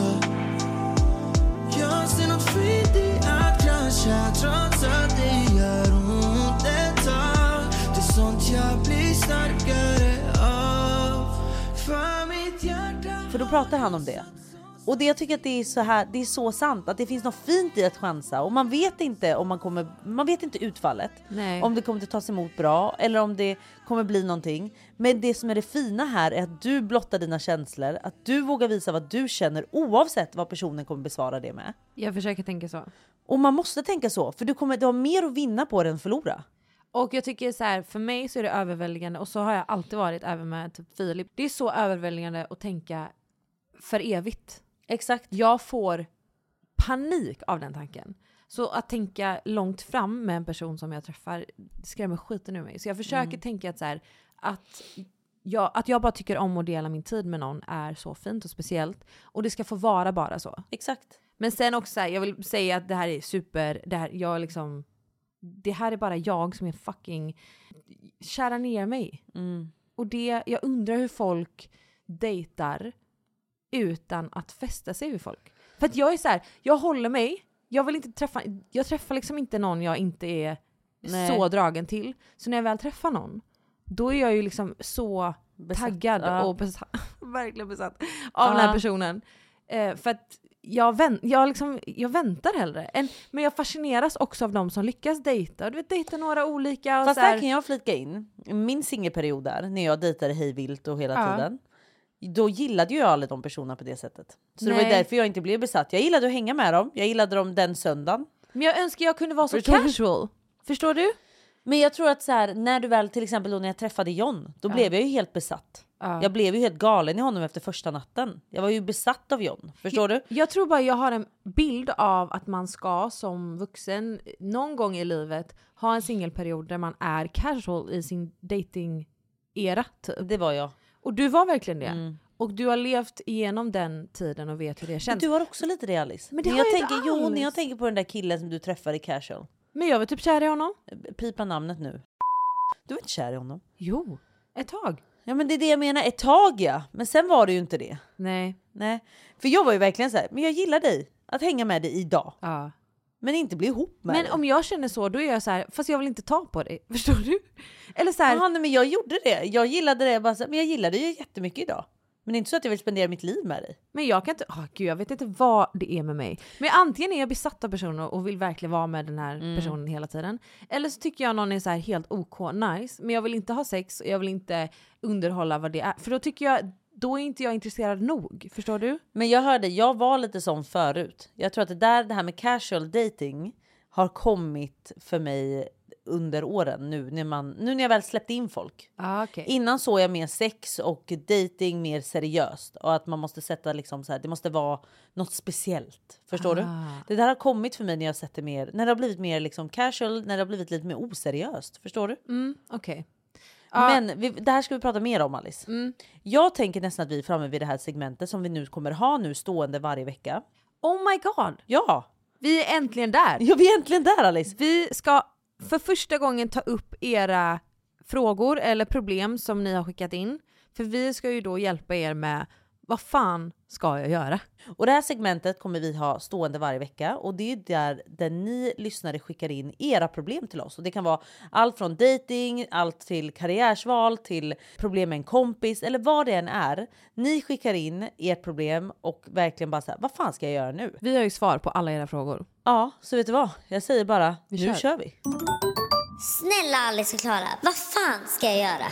Jag ser något fint i att krascha trots att det gör ont ett tag Det är sånt jag blir starkare av För mitt hjärta
För då pratar han om det. Och det jag tycker att det är så här, det är så sant att det finns något fint i att chansa och man vet inte om man kommer, man vet inte utfallet.
Nej.
Om det kommer att tas emot bra eller om det kommer bli någonting. Men det som är det fina här är att du blottar dina känslor, att du vågar visa vad du känner oavsett vad personen kommer besvara det med.
Jag försöker tänka så.
Och man måste tänka så, för du kommer du har mer att vinna på det än förlora.
Och jag tycker så här, för mig så är det överväldigande och så har jag alltid varit även med typ Filip. Det är så överväldigande att tänka för evigt.
Exakt.
Jag får panik av den tanken. Så att tänka långt fram med en person som jag träffar skrämmer skiten ur mig. Så jag försöker
Mm.
tänka att, så här, att, jag, att jag bara tycker om att dela min tid med någon är så fint och speciellt. Och det ska få vara bara så.
Exakt.
Men sen också, så här, jag vill säga att det här är super, det här, jag liksom, det här är bara jag som är fucking, kära ner mig. Och det, jag undrar hur folk dejtar utan att fästa sig vid folk. För att jag är så här, jag håller mig, jag vill inte träffa, jag träffar liksom inte någon jag inte är
Nej.
så dragen till. Så när jag väl träffar någon, då är jag ju liksom så taggad
ja.
och besatt, verkligen besatt av den här
Ja.
personen. Eh, för att jag, vänt, jag, liksom, jag väntar hellre. Än, men jag fascineras också av de som lyckas dejta. Du vet, dejta några olika. Och
Fast
så här,
där kan jag flika in. Min singelperiod där, när jag dejtade hej vilt och hela
Ja.
tiden. Då gillade ju jag aldrig de personerna på det sättet. Så det var ju
Nej.
därför jag inte blev besatt. Jag gillade att hänga med dem. Jag gillade dem den söndagen.
Men jag önskar jag kunde vara så
Förstår du?
casual. Förstår du?
Men jag tror att så här, när du väl, till exempel då när jag träffade John, då
Ja.
blev jag ju helt besatt.
Ja.
Jag blev ju helt galen i honom efter första natten. Jag var ju besatt av John. Förstår du?
Jag tror bara jag har en bild av att man ska som vuxen någon gång i livet ha en singelperiod där man är casual i sin dating era typ.
Det var jag.
Och du var verkligen det.
Mm.
Och du har levt igenom den tiden och vet hur det
Men
känns.
du har också lite det Alice.
Men det
när
har
jag
jag inte
tänker, Jo, när
alls.
jag tänker på den där killen som du träffade i casual.
Men jag var typ kär i honom.
Pipa namnet nu. Du var inte kär i honom?
Jo, ett tag.
Ja men det är det jag menar, ett tag ja. Men sen var det ju inte det.
Nej.
Nej. För jag var ju verkligen så här, men jag gillar dig. Att hänga med dig idag. Men inte bli ihop med
Men
dig.
om jag känner så, då är jag så här, fast jag vill inte ta på dig. Förstår du? Eller så här,
Jaha, nej, men jag gjorde det. Jag gillade det. Jag bara, så här, men jag gillar dig ju jättemycket idag. Men det är inte så att jag vill spendera mitt liv med dig.
Men jag kan inte, oh, gud jag vet inte vad det är med mig. Men antingen är jag besatt av personer och vill verkligen vara med den här
Mm.
personen hela tiden. Eller så tycker jag någon är så här helt OK nice, men jag vill inte ha sex och jag vill inte underhålla vad det är. För då tycker jag, då är inte jag intresserad nog. Förstår du?
Men jag hörde, jag var lite sån förut. Jag tror att det där, det här med casual dating har kommit för mig under åren nu när, man, nu när jag väl släppte in folk.
Ah, okay.
Innan såg jag mer sex och dating mer seriöst och att man måste sätta liksom så här, det måste vara något speciellt. Förstår du?
Ah.
Det där har kommit för mig när jag sett det mer, när det har blivit mer liksom casual, när det har blivit lite mer oseriöst. Förstår du?
Mm, Okej. Ja. Mm.
Men vi, det här ska vi prata mer om Alice. Jag tänker nästan att vi är framme vid det här segmentet som vi nu kommer ha nu stående varje vecka.
Oh my god!
Ja,
Vi är äntligen där!
ja vi är äntligen där Alice.
Vi ska för första gången ta upp era frågor eller problem som ni har skickat in. För vi ska ju då hjälpa er med vad fan ska jag göra?
Och det här segmentet kommer vi ha stående varje vecka och det är ju där, där ni lyssnare skickar in era problem till oss. Och det kan vara allt från dating, allt till karriärsval, till problem med en kompis eller vad det än är. Ni skickar in ert problem och verkligen bara så här, vad fan ska jag göra nu?
Vi har ju svar på alla era frågor.
Ja, så vet du vad? Jag säger bara, nu
kör.
kör vi.
Snälla Alice och Klara, vad fan ska jag göra?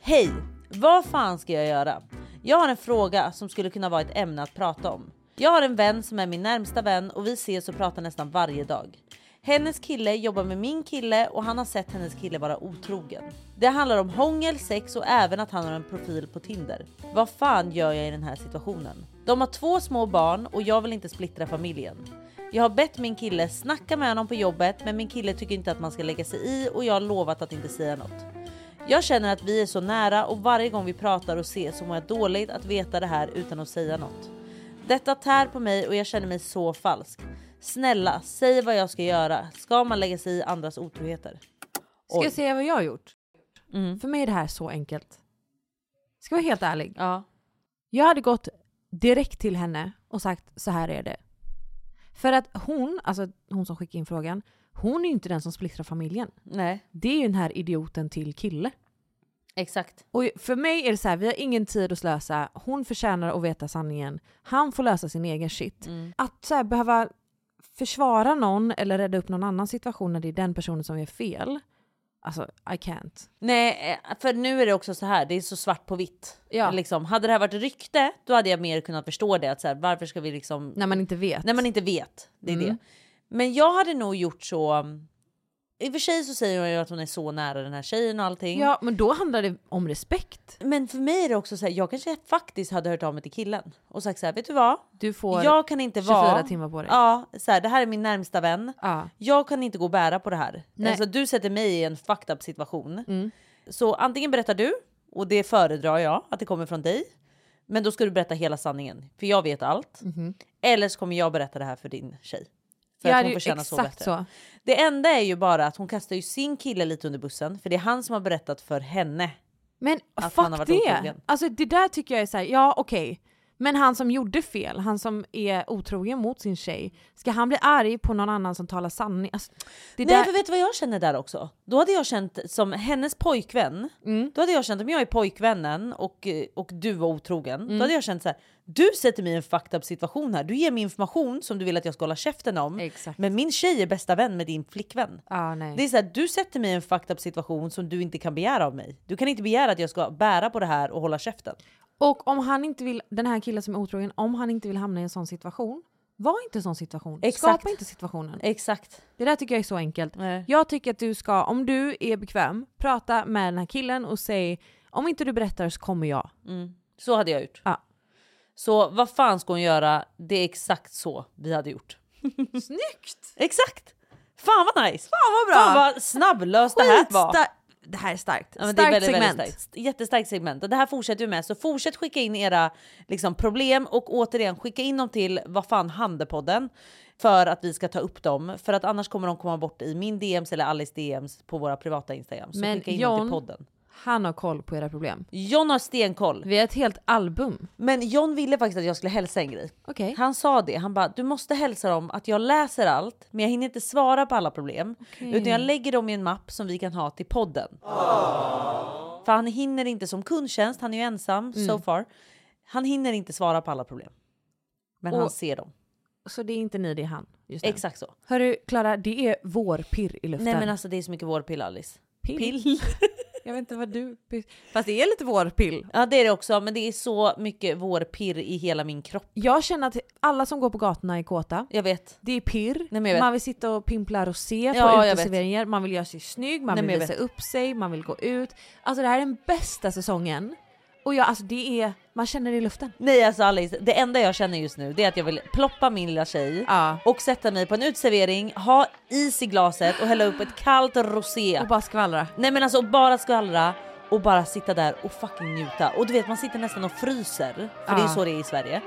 Hej! Vad fan ska jag göra? Jag har en fråga som skulle kunna vara ett ämne att prata om. Jag har en vän som är min närmsta vän och vi ses och pratar nästan varje dag. Hennes kille jobbar med min kille och han har sett hennes kille vara otrogen. Det handlar om hångel, sex och även att han har en profil på Tinder. Vad fan gör jag i den här situationen? De har två små barn och jag vill inte splittra familjen. Jag har bett min kille snacka med honom på jobbet men min kille tycker inte att man ska lägga sig i och jag har lovat att inte säga något. Jag känner att vi är så nära och varje gång vi pratar och ses så mår jag dåligt att veta det här utan att säga något. Detta tär på mig och jag känner mig så falsk. Snälla, säg vad jag ska göra. Ska man lägga sig i andras otroheter?
Ska jag säga vad jag har gjort? För mig är det här så enkelt. Ska jag vara helt ärlig?
Ja.
Jag hade gått direkt till henne och sagt så här är det. För att hon, alltså hon som skickade in frågan, hon är ju inte den som splittrar familjen.
Nej.
Det är ju den här idioten till kille.
Exakt.
Och för mig är det så här, vi har ingen tid att slösa. Hon förtjänar att veta sanningen. Han får lösa sin egen shit. Att så här, behöva försvara någon eller rädda upp någon annan situation när det är den personen som gör fel. Alltså, I can't.
Nej, eh, för nu är det också så här. Det är så svart på vitt.
Ja.
Liksom, hade det här varit rykte, då hade jag mer kunnat förstå det. Att så här, varför ska vi liksom...
När man inte vet.
När man inte vet. Det är
Mm.
det. Men jag hade nog gjort så. I och för sig så säger hon ju att hon är så nära den här tjejen och allting.
Ja, men då handlar det om respekt.
Men för mig är det också så här. Jag kanske faktiskt hade hört av mig till killen och sagt så här. Vet du vad?
Du får
jag kan inte
24
vara,
timmar på dig.
Ja, så här, det här är min närmsta vän.
Ja.
Jag kan inte gå och bära på det här.
Nej.
Alltså, du sätter mig i en fucked up situation.
Mm.
Så antingen berättar du, och det föredrar jag att det kommer från dig. Men då ska du berätta hela sanningen, för jag vet allt.
Mhm.
Eller så kommer jag berätta det här för din tjej. För
Jag
att
hade
hon
ju
förtjänar så
exakt
bättre.
så.
Det enda är ju bara att hon kastar ju sin kille lite under bussen, för det är han som har berättat för henne.
Men
Att han har
fuck
varit
det!
otrogen.
Alltså det där tycker jag är såhär, ja okej. Men han som gjorde fel, han som är otrogen mot sin tjej, ska han bli arg på någon annan som talar sanning? Alltså, det
Nej
där...
för vet du vad jag känner där också? Då hade jag känt som hennes pojkvän,
Mm.
då hade jag känt om jag är pojkvännen och, eh, och du var otrogen,
Mm.
då hade jag känt så här. du sätter mig i en fucked up situation här, du ger mig information som du vill att jag ska hålla käften om, men min tjej är bästa vän med din flickvän.
Ah, nej.
Det är så här, du sätter mig i en fucked up situation som du inte kan begära av mig. Du kan inte begära att jag ska bära på det här och hålla käften.
Och om han inte vill, den här killen som är otrogen, om han inte vill hamna i en sån situation, var inte i en sån situation. Skapa inte situationen.
Exakt.
Det där tycker jag är så enkelt. Jag tycker att du ska, om du är bekväm, prata med den här killen och säg om inte du berättar så kommer jag.
Mm. Så hade jag gjort.
Ja.
Så vad fan ska hon göra? Det är exakt så vi hade gjort.
Snyggt!
Exakt! Fan vad nice!
Fan vad bra!
Fan vad snabblöst det här var!
Skitsta- Det här är starkt.
Ja, men
starkt
det är väldigt,
segment.
Väldigt starkt. Jättestarkt segment. Och det här fortsätter vi med. Så fortsätt skicka in era liksom, problem och återigen skicka in dem till vad fan handepodden för att vi ska ta upp dem. För att annars kommer de komma bort i min DMs eller Alice DMs på våra privata Instagram. Så
Men
skicka in dem
John,
till podden.
han har koll på era problem.
John har stenkoll.
Vi har ett helt album.
Men John ville faktiskt att jag skulle hälsa en grej.
Okej.
Han sa det, han bara du måste hälsa dem att jag läser allt men jag hinner inte svara på alla problem.
Okej.
Utan jag lägger dem i en mapp som vi kan ha till podden. För han hinner inte som kundtjänst, han är ju ensam so
Ah. Mm.
far. Han hinner inte svara på alla problem. Men
Och-
han ser dem.
Så det är inte ni, det är han. Just nu.
Exakt så.
Hörru Klara, det är vårpirr i luften.
Nej men alltså det är så mycket vårpill Alice.
Pill?
Pill.
Jag vet inte vad du... Fast det är lite vårpill.
Ja det är det också men det är så mycket vårpirr i hela min kropp.
Jag känner att alla som går på gatorna är kåta.
Jag vet.
Det är pirr.
Nej, men jag vet.
Man vill sitta och pimpla rosé på
Ja, jag
uteserveringar. Man vill göra sig snygg, man
Nej, men
vill
jag
visa
vet.
upp sig, man vill gå ut. Alltså det här är den bästa säsongen. Och jag, alltså det är... Man känner det i luften.
Nej alltså Alice, det enda jag känner just nu det är att jag vill ploppa min lilla tjej och sätta mig på en uteservering, ha is i glaset och hälla upp ett kallt rosé. Och
bara skvallra.
Nej men alltså och bara skvallra och bara sitta där och fucking njuta. Och du vet man sitter nästan och fryser, för det är
Ja.
så det är i Sverige.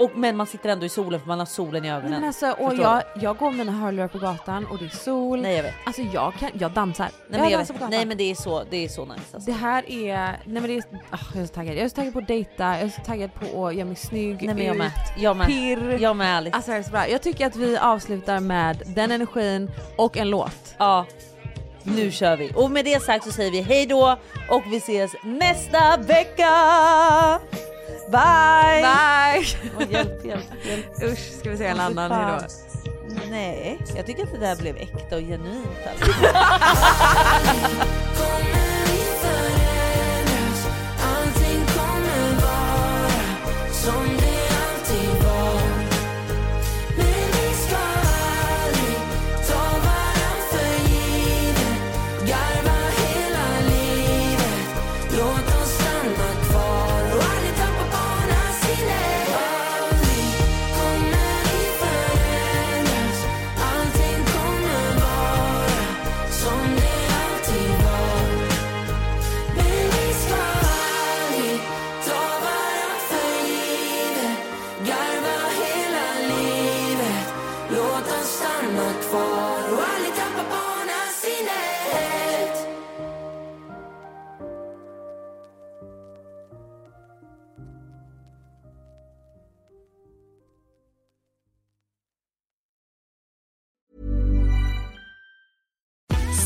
Och, men man sitter ändå i solen för man har solen i ögonen.
Nej, men alltså, och
Förstår
jag,
du?
jag går med mina hörlurar på gatan och det är sol.
Nej jag vet.
Alltså jag, kan, jag dansar.
Nej, men jag
dansar på
vet.
gatan.
Nej men det är så, det är så nice alltså.
Det här är... Nej men det är... ah, jag är så taggad. Jag är så taggad på att dejta, jag är så taggad på att göra mig snygg.
Nej men jag
ut.
med. Jag med.
Pirr.
Jag med Alice.
Alltså det här är så bra. Jag tycker att vi avslutar med den energin och en låt.
Ja. Nu kör vi. Och med det sagt så säger vi hej då och vi ses nästa vecka! Bye!
Bye!
Åh, hjälp, hjälp, hjälp.
Usch, ska vi säga en annan
Fy fan.
hejdå?
Nej, jag tycker att det där blev äkta och genuint. Alltså.
Allting kommer vara som det alltid var Men vi ska aldrig ta varann för givet Garva hela livet Låt oss stanna kvar och aldrig tappa barnasinnet Aldrig kommer vi förändras Allting kommer vara som det alltid var
Gatan stannar kvar och aldrig tappar barnasinnet